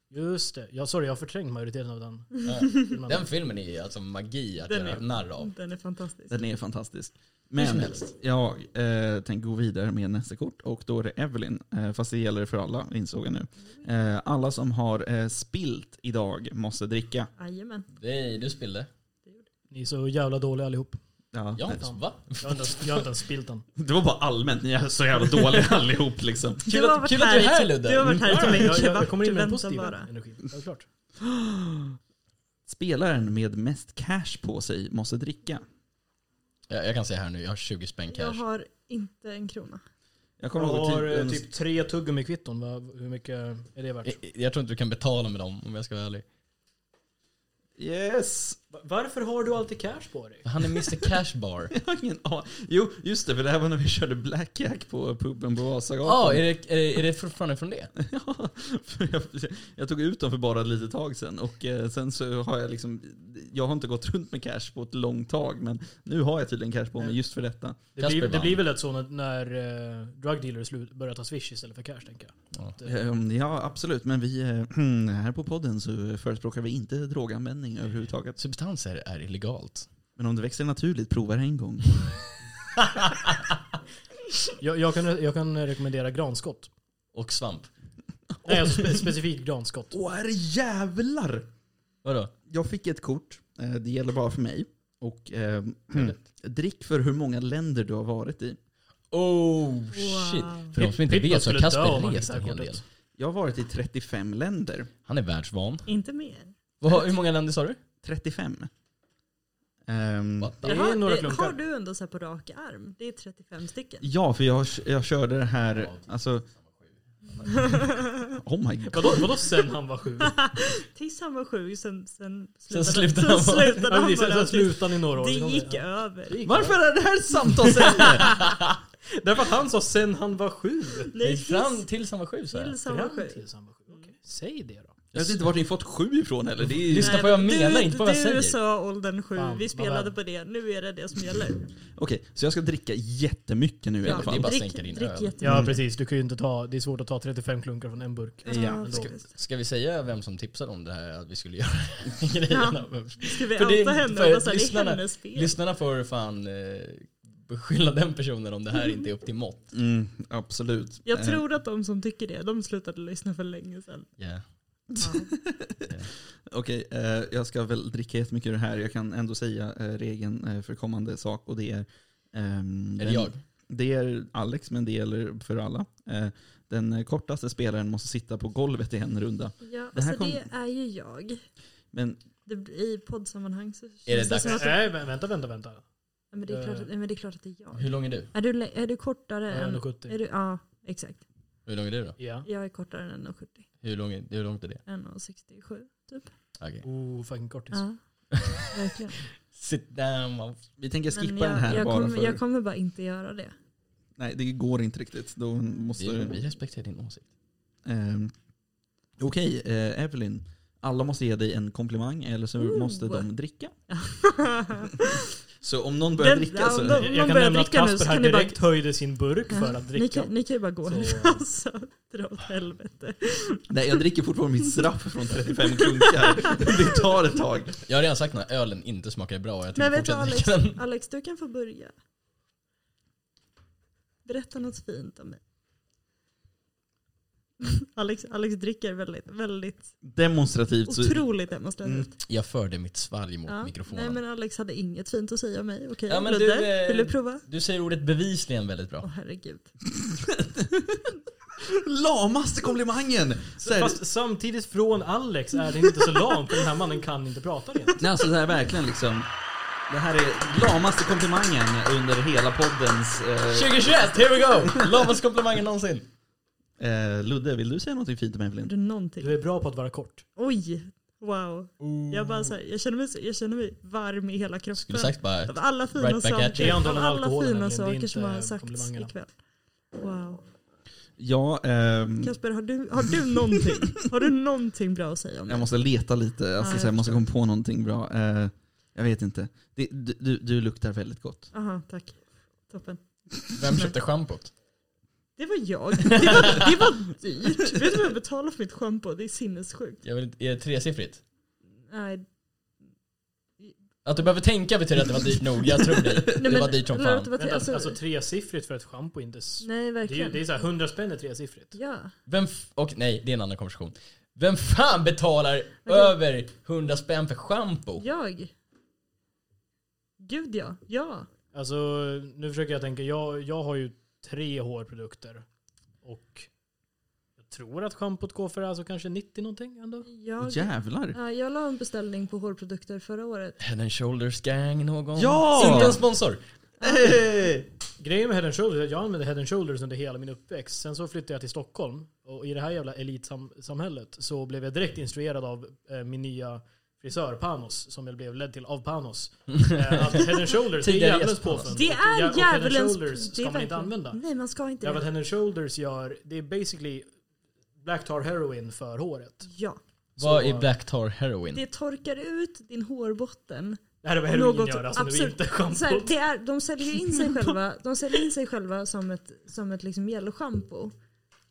Just det. Jag, sorry, jag har förträngt majoriteten av den.
lek.
filmen.
Den filmen är ju alltså magi att
Den
göra
är-
narr av.
Den är fantastisk.
Den är fantastisk.
som
Men
helst.
jag eh, tänker gå vidare med nästa kort och då är det Evelyn. Eh, fast det gäller för alla, insåg jag nu. Eh, alla som har eh, spilt idag måste dricka.
Jajamän.
Nej, du spillde.
Ni är så jävla dåliga allihop.
Ja.
Ja, va?
Jag har inte ens, jag har inte ens spilt den.
Det var bara allmänt, ni är så jävla dåliga allihop liksom.
Kul att, kul att du är här Ludde.
Du har varit här i
jag,
typ en
jag, jag
kvart.
kommer in med en
Vänta
positiv
bara.
energi. Ja, klart.
Spelaren med mest cash på sig måste dricka.
Jag, jag kan säga här nu, jag har 20 spänn
Jag
cash.
har inte en krona.
Jag
Jag
kommer ihåg
har eh,
typ, Eh.
typ tre tuggummi-kvitton. Vad- Hur mycket är det värt?
Jag, jag tror inte du kan betala med dem om jag ska vara ärlig.
Yes!
Va- Varför har du alltid cash på dig?
Han är Mr Cashbar.
Jag har ingen aning. Jo, just det, för det här var när vi körde blackjack på puben på Vasagatan.
Ja, är, det, är, det, är det fortfarande från det?
Ja, för jag, jag tog ut dem för bara ett litet tag sedan och eh, sen så har jag liksom, jag har inte gått runt med cash på ett långt tag men nu har jag tydligen cash på mig just för detta.
Det
Kasper
blir, det
vann.
blir väl ett så när, när eh, drug dealers slut- börjar ta swish istället för cash, tänker jag.
Ehm, Ja absolut, men vi eh, här på podden så förespråkar vi inte droganvändning överhuvudtaget.
Substanser är illegalt.
Men om det växer naturligt, prova det en gång.
Jag, jag, kan, jag kan rekommendera granskott.
Och svamp.
Nej, alltså spe, specifikt granskott.
Åh herre jävlar!
Vadå?
Jag fick ett kort, eh, det gäller bara för mig. Och eh, drick för hur många länder du har varit i.
Oh shit.
Wow.
För de som inte
Pitbull
vet så har
skulle dö
Kasper
om han
rest
fick
en
det här
hel del.
kortet.
Jag har varit i 35 länder.
Han är världsvan.
Inte mer.
Vad, har- hur många länder sa du?
35. Ehm,
What the-
Det är
Jaha,
några
det,
klunkar.
har du ändå så här på rak arm? Det är 35 stycken.
ja, för jag, jag körde det här, alltså... Oh my god.
Vadå, vadå sen han var sju?
Tills han var sju, sen, sen
Sen
slutade,
slutade han
sen
vara-
Ja,
slutade han
precis. Sen
bara.
sen slutade han i några år.
Det
sen kom
gick
Ja. Det
över.
gick
Varför
över.
är det här ett samtalsämne?
Därför att han sa sen han var sju.
Det
Nej,
är fram
tills,
tills han var sju så här.
tills han var Mm.
Fram
sju.
tills han var sju. Okej. Säg det då.
Jag vet inte vart ni fått sju ifrån heller. Det är ju...
Lyssna på vad jag
Nej,
menar,
du,
inte på vad jag säger.
Du sa åldern sju,
Fan, vad
vi spelade
väl.
på det. Nu är det det som
Mm.
gäller.
Okej, så jag ska dricka jättemycket nu i alla
det är
fall.
bara att
drick,
sänka din
drick
öl.
jättemycket.
Ja precis, du kan ju inte ta, det är svårt att ta 35 klunkar från en burk.
Ja,
Ska-
faktiskt.
Ska vi säga vem som tipsade om det här att vi skulle göra grejerna?
Ska vi
För det-
outa henne?
för
och bara så här, Det är
lyssnarna-
hennes fel.
Lyssnarna får fan eh, beskylla den personen om det här inte är upp till mått.
Mm, absolut.
Jag
Eh,
tror att de som tycker det, de slutade lyssna för länge sedan.
Yeah.
Okej, eh, jag ska väl dricka jättemycket ur det här. Jag kan ändå säga eh, regeln eh, för kommande sak och det är... ehm,
Är det
den-
jag?
Det är Alex, men det gäller för alla. Eh, Den eh, kortaste spelaren måste sitta på golvet i en runda.
Ja,
Det här
alltså
kom-
det är ju jag.
Men
Det, blir- I poddsammanhang så känns
Är det
det,
dags? Äh?
som att...
Nej vä- vänta, vänta, vänta.
Ja, Men det, är klart att, nej, men det är klart att det är jag.
Hur lång är du?
Är du, lä- är du kortare
Jag är
än...
170.
Är du, ja, exakt.
Hur lång är du då?
Ja.
Jag är kortare än 1,70.
Hur, lång är, hur långt är det?
1,67 typ.
Okej.
Oh, fucking kortis.
Ja, verkligen.
Sit down. man.
vi tänker
Men
skippa
jag,
den här
jag,
bara
kommer,
för...
jag kommer bara inte göra det.
Nej, det går inte riktigt. Då måste...
Vi, vi respekterar din åsikt.
Ehm, Okej, eh, Evelyn. Alla måste ge dig en komplimang eller så
Ooh.
måste de dricka. Så om någon börjar
Den-
dricka
ja,
så...
om
Jag-
de- om
Jag
de
kan
börjar
nämna att
dricka nu
Kasper
så
här
kan ni bara-
direkt höjde sin burk för
ni,
att
kan,
dricka.
ni kan ju bara gå
Så-
nu alltså. Dra åt helvete.
Nej, jag dricker fortfarande mitt straff från 35 klunkar. Det tar ett tag.
Jag har redan sagt att ölen inte smakar bra och jag tänker
Men vet du
fortsätta
Alex,
dricka den.
Alex, du kan få börja. Berätta något fint om mig. Alex, Alex dricker väldigt, väldigt
Demonstrativt så...
otroligt demonstrativt.
Jag förde mitt svalg mot
Ja.
mikrofonen.
Nej men Alex hade inget fint att säga om mig. Okej,
Ja, men
Ludde,
du, eh,
vill du prova?
Du säger ordet bevisligen väldigt
Åh
bra.
herregud.
Lamaste komplimangen! Så här,
Fast samtidigt från Alex är det inte så lamt för den här mannen kan inte prata rent.
Nej, alltså det här är verkligen liksom... Det här är lamaste komplimangen under hela poddens... Eh,
2021, here we go! Lavaste komplimangen någonsin.
eh, Ludde, vill du säga något fint om
Har
Evelyn?
du någonting?
Du är bra på att vara kort.
Oj, wow. Jag, bara så här, jag, känner mig, så- jag känner mig varm i hela kroppen.
Mm. Skulle sagt bara
Av alla fina
Right back at
you. Det
saker,
är
av
antagligen
alla
alkoholen,
fina
nämligen. Det är
saker
inte
som har sagts
komplimangerna.
ikväll. Wow.
Ja, ehm,
Kasper, har du, har du någonting? har du någonting bra att säga om
jag
mig?
måste leta lite. Alltså,
Ja,
så här, jag
jag
måste komma
förstår.
på någonting bra. Eh, jag vet inte. Det, du, du, du luktar väldigt gott.
Aha, tack. Toppen.
vem köpte schampot?
Det var jag. Det var, det var dyrt. Vet du vad jag betalade för mitt schampo? Det är sinnessjukt.
Jag vill, inte- är det tresiffrigt?
Nej,
Att du behöver tänka betyder att det var dyrt nog. Jag tror dig.
nej,
Det var dyrt som
eller att
fan.
det var till-
Vänta, alltså,
alltså,
tresiffrigt för ett schampo är inte... s-
Nej,
Det är, ju-
verkligen.
det är så här, 100 spänn är tresiffrigt.
Ja.
Vem f- och nej, det är en annan konversation. Vem fan betalar
det-
över 100 spänn för schampo?
Jag? Gud ja. Ja.
Alltså, nu försöker jag tänka. Jag, jag har ju tre hårprodukter. Och jag tror att schampot går för alltså, kanske 90 någonting ändå.
Åh,
Jag,
jävlar.
ja, jag la en beställning på hårprodukter förra året.
Head and Shoulders gang någon?
Ja!
Inte en sponsor.
Grejen med Head Shoulders är att jag använde Head Shoulders under hela min uppväxt. Sen så flyttade jag till Stockholm. Och i det här jävla elitsamhället så blev jag direkt instruerad av eh, min nya frisör Panos, som jag blev ledd till av Panos. Eh, att Head Shoulders är
Tidigare
djävulens
gäst Panos.
påfund.
Det
Och jä-
är
och Head
djävulens...
Shoulders
det är
ska man inte
verkligen-
använda.
Nej, man ska inte
Därför att
det.
Head Shoulders gör, det är basically Black Tar Heroin för håret.
Ja.
Vad
Så-
är Black Tar Heroin?
Det torkar ut din hårbotten.
Det här är vad heroin
Något
gör alltså, det är
absurt.
inte
Så här,
schampot.
det är, de säljer in sig själva, de säljer in sig själva som ett, som ett liksom mjällschampo.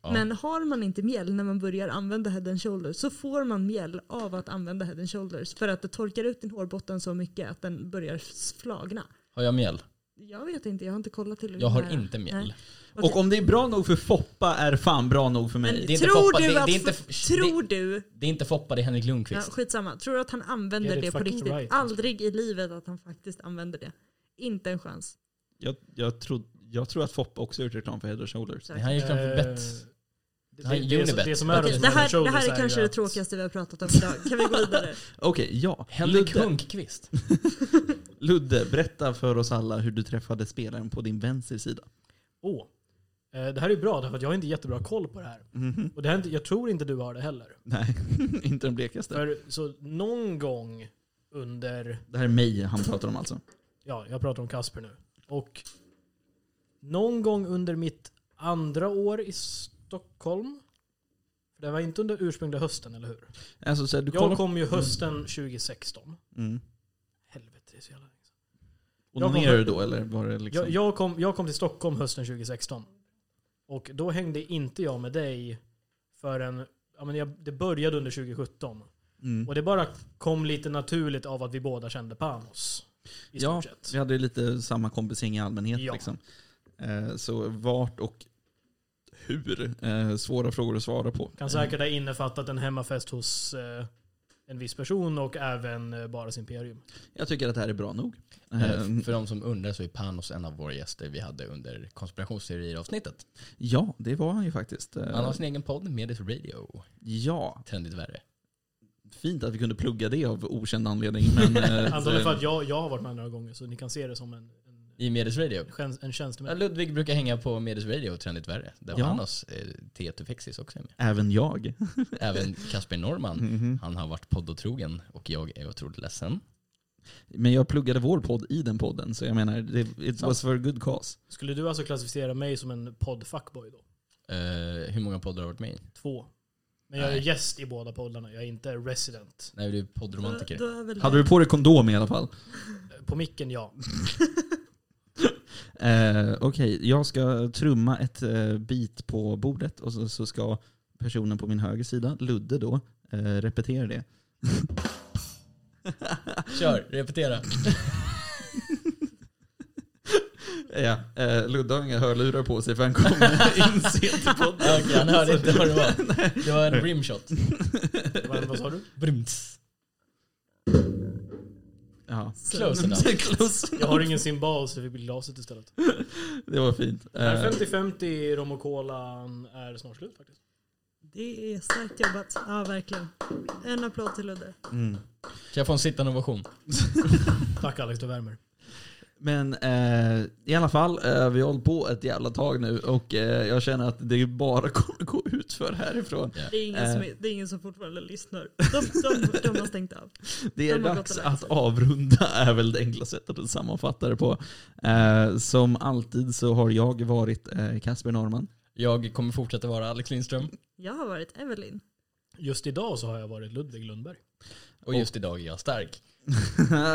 Ja.
Men har man inte mjäll när man börjar använda head and shoulders så får man mjäll av att använda head and shoulders. För att det torkar ut din hårbotten så mycket att den börjar flagna.
Har jag mjäll?
Jag vet inte, jag har inte kollat tillräckligt
Jag har
nära.
inte mjäll.
Nej.
Och om det är bra nog för Foppa är fan bra nog för
Men
mig.
det är inte
tror
Foppa,
du
det-
att...
det är inte-
tror du...
Det är inte Foppa, det är Henrik
Ja,
Lundqvist.
skitsamma. Tror du att han använder
Get it
det på
fucking
riktigt?
right. alltså.
Aldrig i livet att han faktiskt använder det. Inte en chans.
Jag, jag, tror, jag tror att Foppa också har gjort reklam för Head Shoulders.
Det här är ju reklam för
Eh,
Bets.
det-
Det här är
det- det är så-
Unibet.
Det som är
Okej,
med
Det
Head
här, det
Shoulders
här är kanske
ju
det
att-
tråkigaste vi har pratat om idag. Kan vi gå vidare?
Okej, ja.
Henrik
Ludde.
Lundqvist.
Ludde, berätta för oss alla hur du träffade spelaren på din vänster sida.
Åh. Eh, Det här är bra, därför att jag har inte jättebra koll på det här.
Mhm.
Och det här, är inte- jag tror inte du har det heller.
Nej, inte den blekaste.
För så någon gång under,
Det här är mig han pratar om alltså.
ja jag pratar om Kasper nu. Och någon gång under mitt andra år i Stockholm. För det var inte under ursprungliga hösten, eller hur?
alltså så här, du kollar...
Jag kom ju hösten 2016.
mm.
Helvete, det är så jävla länge sedan.
Onanerade du då eller var det liksom...
Jag, jag, kom, jag kom till Stockholm hösten 2016. Och då hängde inte jag med dig förrän, ja men jag, det började under 2017.
Mm.
Och det bara kom lite naturligt av att vi båda kände Panos. I stort
Ja,
sett.
Vi hade ju lite samma kompisgäng i allmänhet.
Ja.
Liksom. Eh, så vart och hur? Eh, svåra frågor att svara på.
Mm.
Eh,
Kan säkert ha innefattat en hemmafest hos eh, en viss person och även eh, Baras Imperium.
Jag tycker att det här är bra nog. Eh,
Eh, För de som undrar så är Panos en av våra gäster vi hade under konspirationsteorier-avsnittet.
ja, det var han ju faktiskt. Eh,
Han har sin egen podd, Medis Radio.
Ja,
Trendigt värre.
fint att vi kunde plugga det av okänd anledning. Men, eh,
Antagligen för att jag, jag har varit med några gånger så ni kan se det som en, en,
I Medis Radio.
tjänst- en
Ja,
tjänsteman.
Ludvig brukar hänga på Medis Radio, Trendigt värre. Där
Ja.
Panos, eh, Tieto Fexis också är med.
Även jag.
Även Kasper Norman.
Mhm.
Han har varit poddotrogen och jag är otroligt ledsen.
Men jag pluggade vår podd i den podden, så jag menar, det, it was for a good cause.
Skulle du alltså klassificera mig som en podd-fuckboy då?
Eh, hur många poddar har varit med i?
Två. Men jag är
Nej.
gäst i båda poddarna. Jag är inte resident.
Nej, du är poddromantiker.
Då, då är väl
Hade du på dig kondom i alla fall?
Eh, På micken, ja.
Eh, Okej, jag ska trumma ett eh, bit på bordet och så, så ska personen på min höger sida, Ludde då, eh, repetera det.
Kör, repetera.
Ja, eh, Ludde har inga hörlurar på sig för han kommer in sent i podden.
Okej, han hörde inte vad det var. Det var en rimshot.
Vad, vad sa du?
Brumts.
Ja.
Close enough.
Close.
Jag har ingen cymbal så vi blir glaset istället.
Eh.
Det var fint.
Det här
Eh,
50-50 rom och colan är snart slut faktiskt.
Det är starkt jobbat. Ja, verkligen. En applåd till Ludde.
mm.
Kan jag få en sittande ovation?
Tack Alex, du värmer.
Men eh, i alla fall, eh, vi har hållit på ett jävla tag nu och eh, jag känner att det bara kommer gå ut för härifrån.
Det är ingen,
Eh.
som, det är ingen som fortfarande lyssnar. De, de, de har stängt av.
Det är
De har
dags
gått och lagt
att avrunda är väl det enkla sättet att sammanfatta det på. Eh, som alltid så har jag varit eh, Kasper Norman.
Jag kommer fortsätta vara Alex Lindström.
Jag har varit Evelyn.
Just idag så har jag varit Ludvig Lundberg.
Och just idag är jag stark.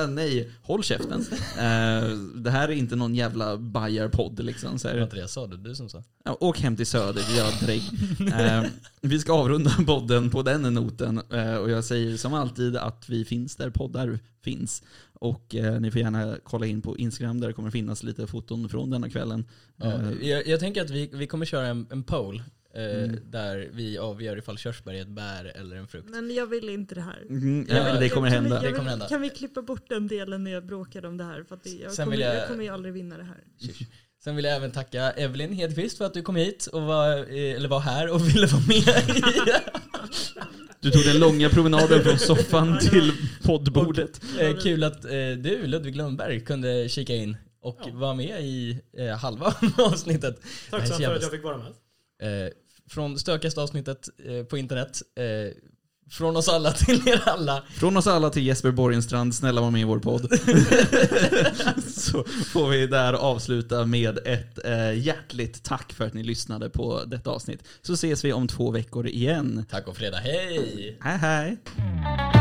Nej, håll käften. Eh, det här är inte någon jävla bajarpodd liksom. Så
Det var
här.
inte det jag sa, det var du som sa.
Ja, Åk hem till söder, vi har drägg. Eh, vi ska avrunda podden på den noten eh, och jag säger som alltid att vi finns där poddar finns. Och eh, ni får gärna kolla in på Instagram där det kommer finnas lite foton från denna kvällen.
Ja,
Eh,
jag, jag tänker att vi, vi kommer köra en, en poll eh,
Mm.
där vi avgör ifall körsbär är ett bär eller en frukt.
Men jag vill inte det här.
Mm,
Ja,
det kommer
Kan vi-
hända.
jag vill-
Det kommer hända.
Kan vi klippa bort den delen när jag bråkade om det här? För att det, jag,
Sen
kommer,
vill
jag...
jag-
kommer ju aldrig vinna det här.
Sen vill jag även tacka Evelyn Hedqvist för att du kom hit och var, eh, eller var här och ville vara med.
Du tog den långa promenaden från soffan
Ja,
till poddbordet.
eh, kul att eh, du, Ludvig Lundberg, kunde kika in och
Ja.
vara med i eh, halva avsnittet. Det här
Tack så för
kändes-
att jag fick vara med.
Eh, från stökigaste avsnittet eh, på internet. Eh, från oss alla till er alla.
Från oss alla till Jesper Borgenstrand, snälla var med i vår podd. Så får vi där avsluta med ett eh, hjärtligt tack för att ni lyssnade på detta avsnitt. Så ses vi om två veckor igen.
Tack och fredag, hej!
Hej hej!
Thank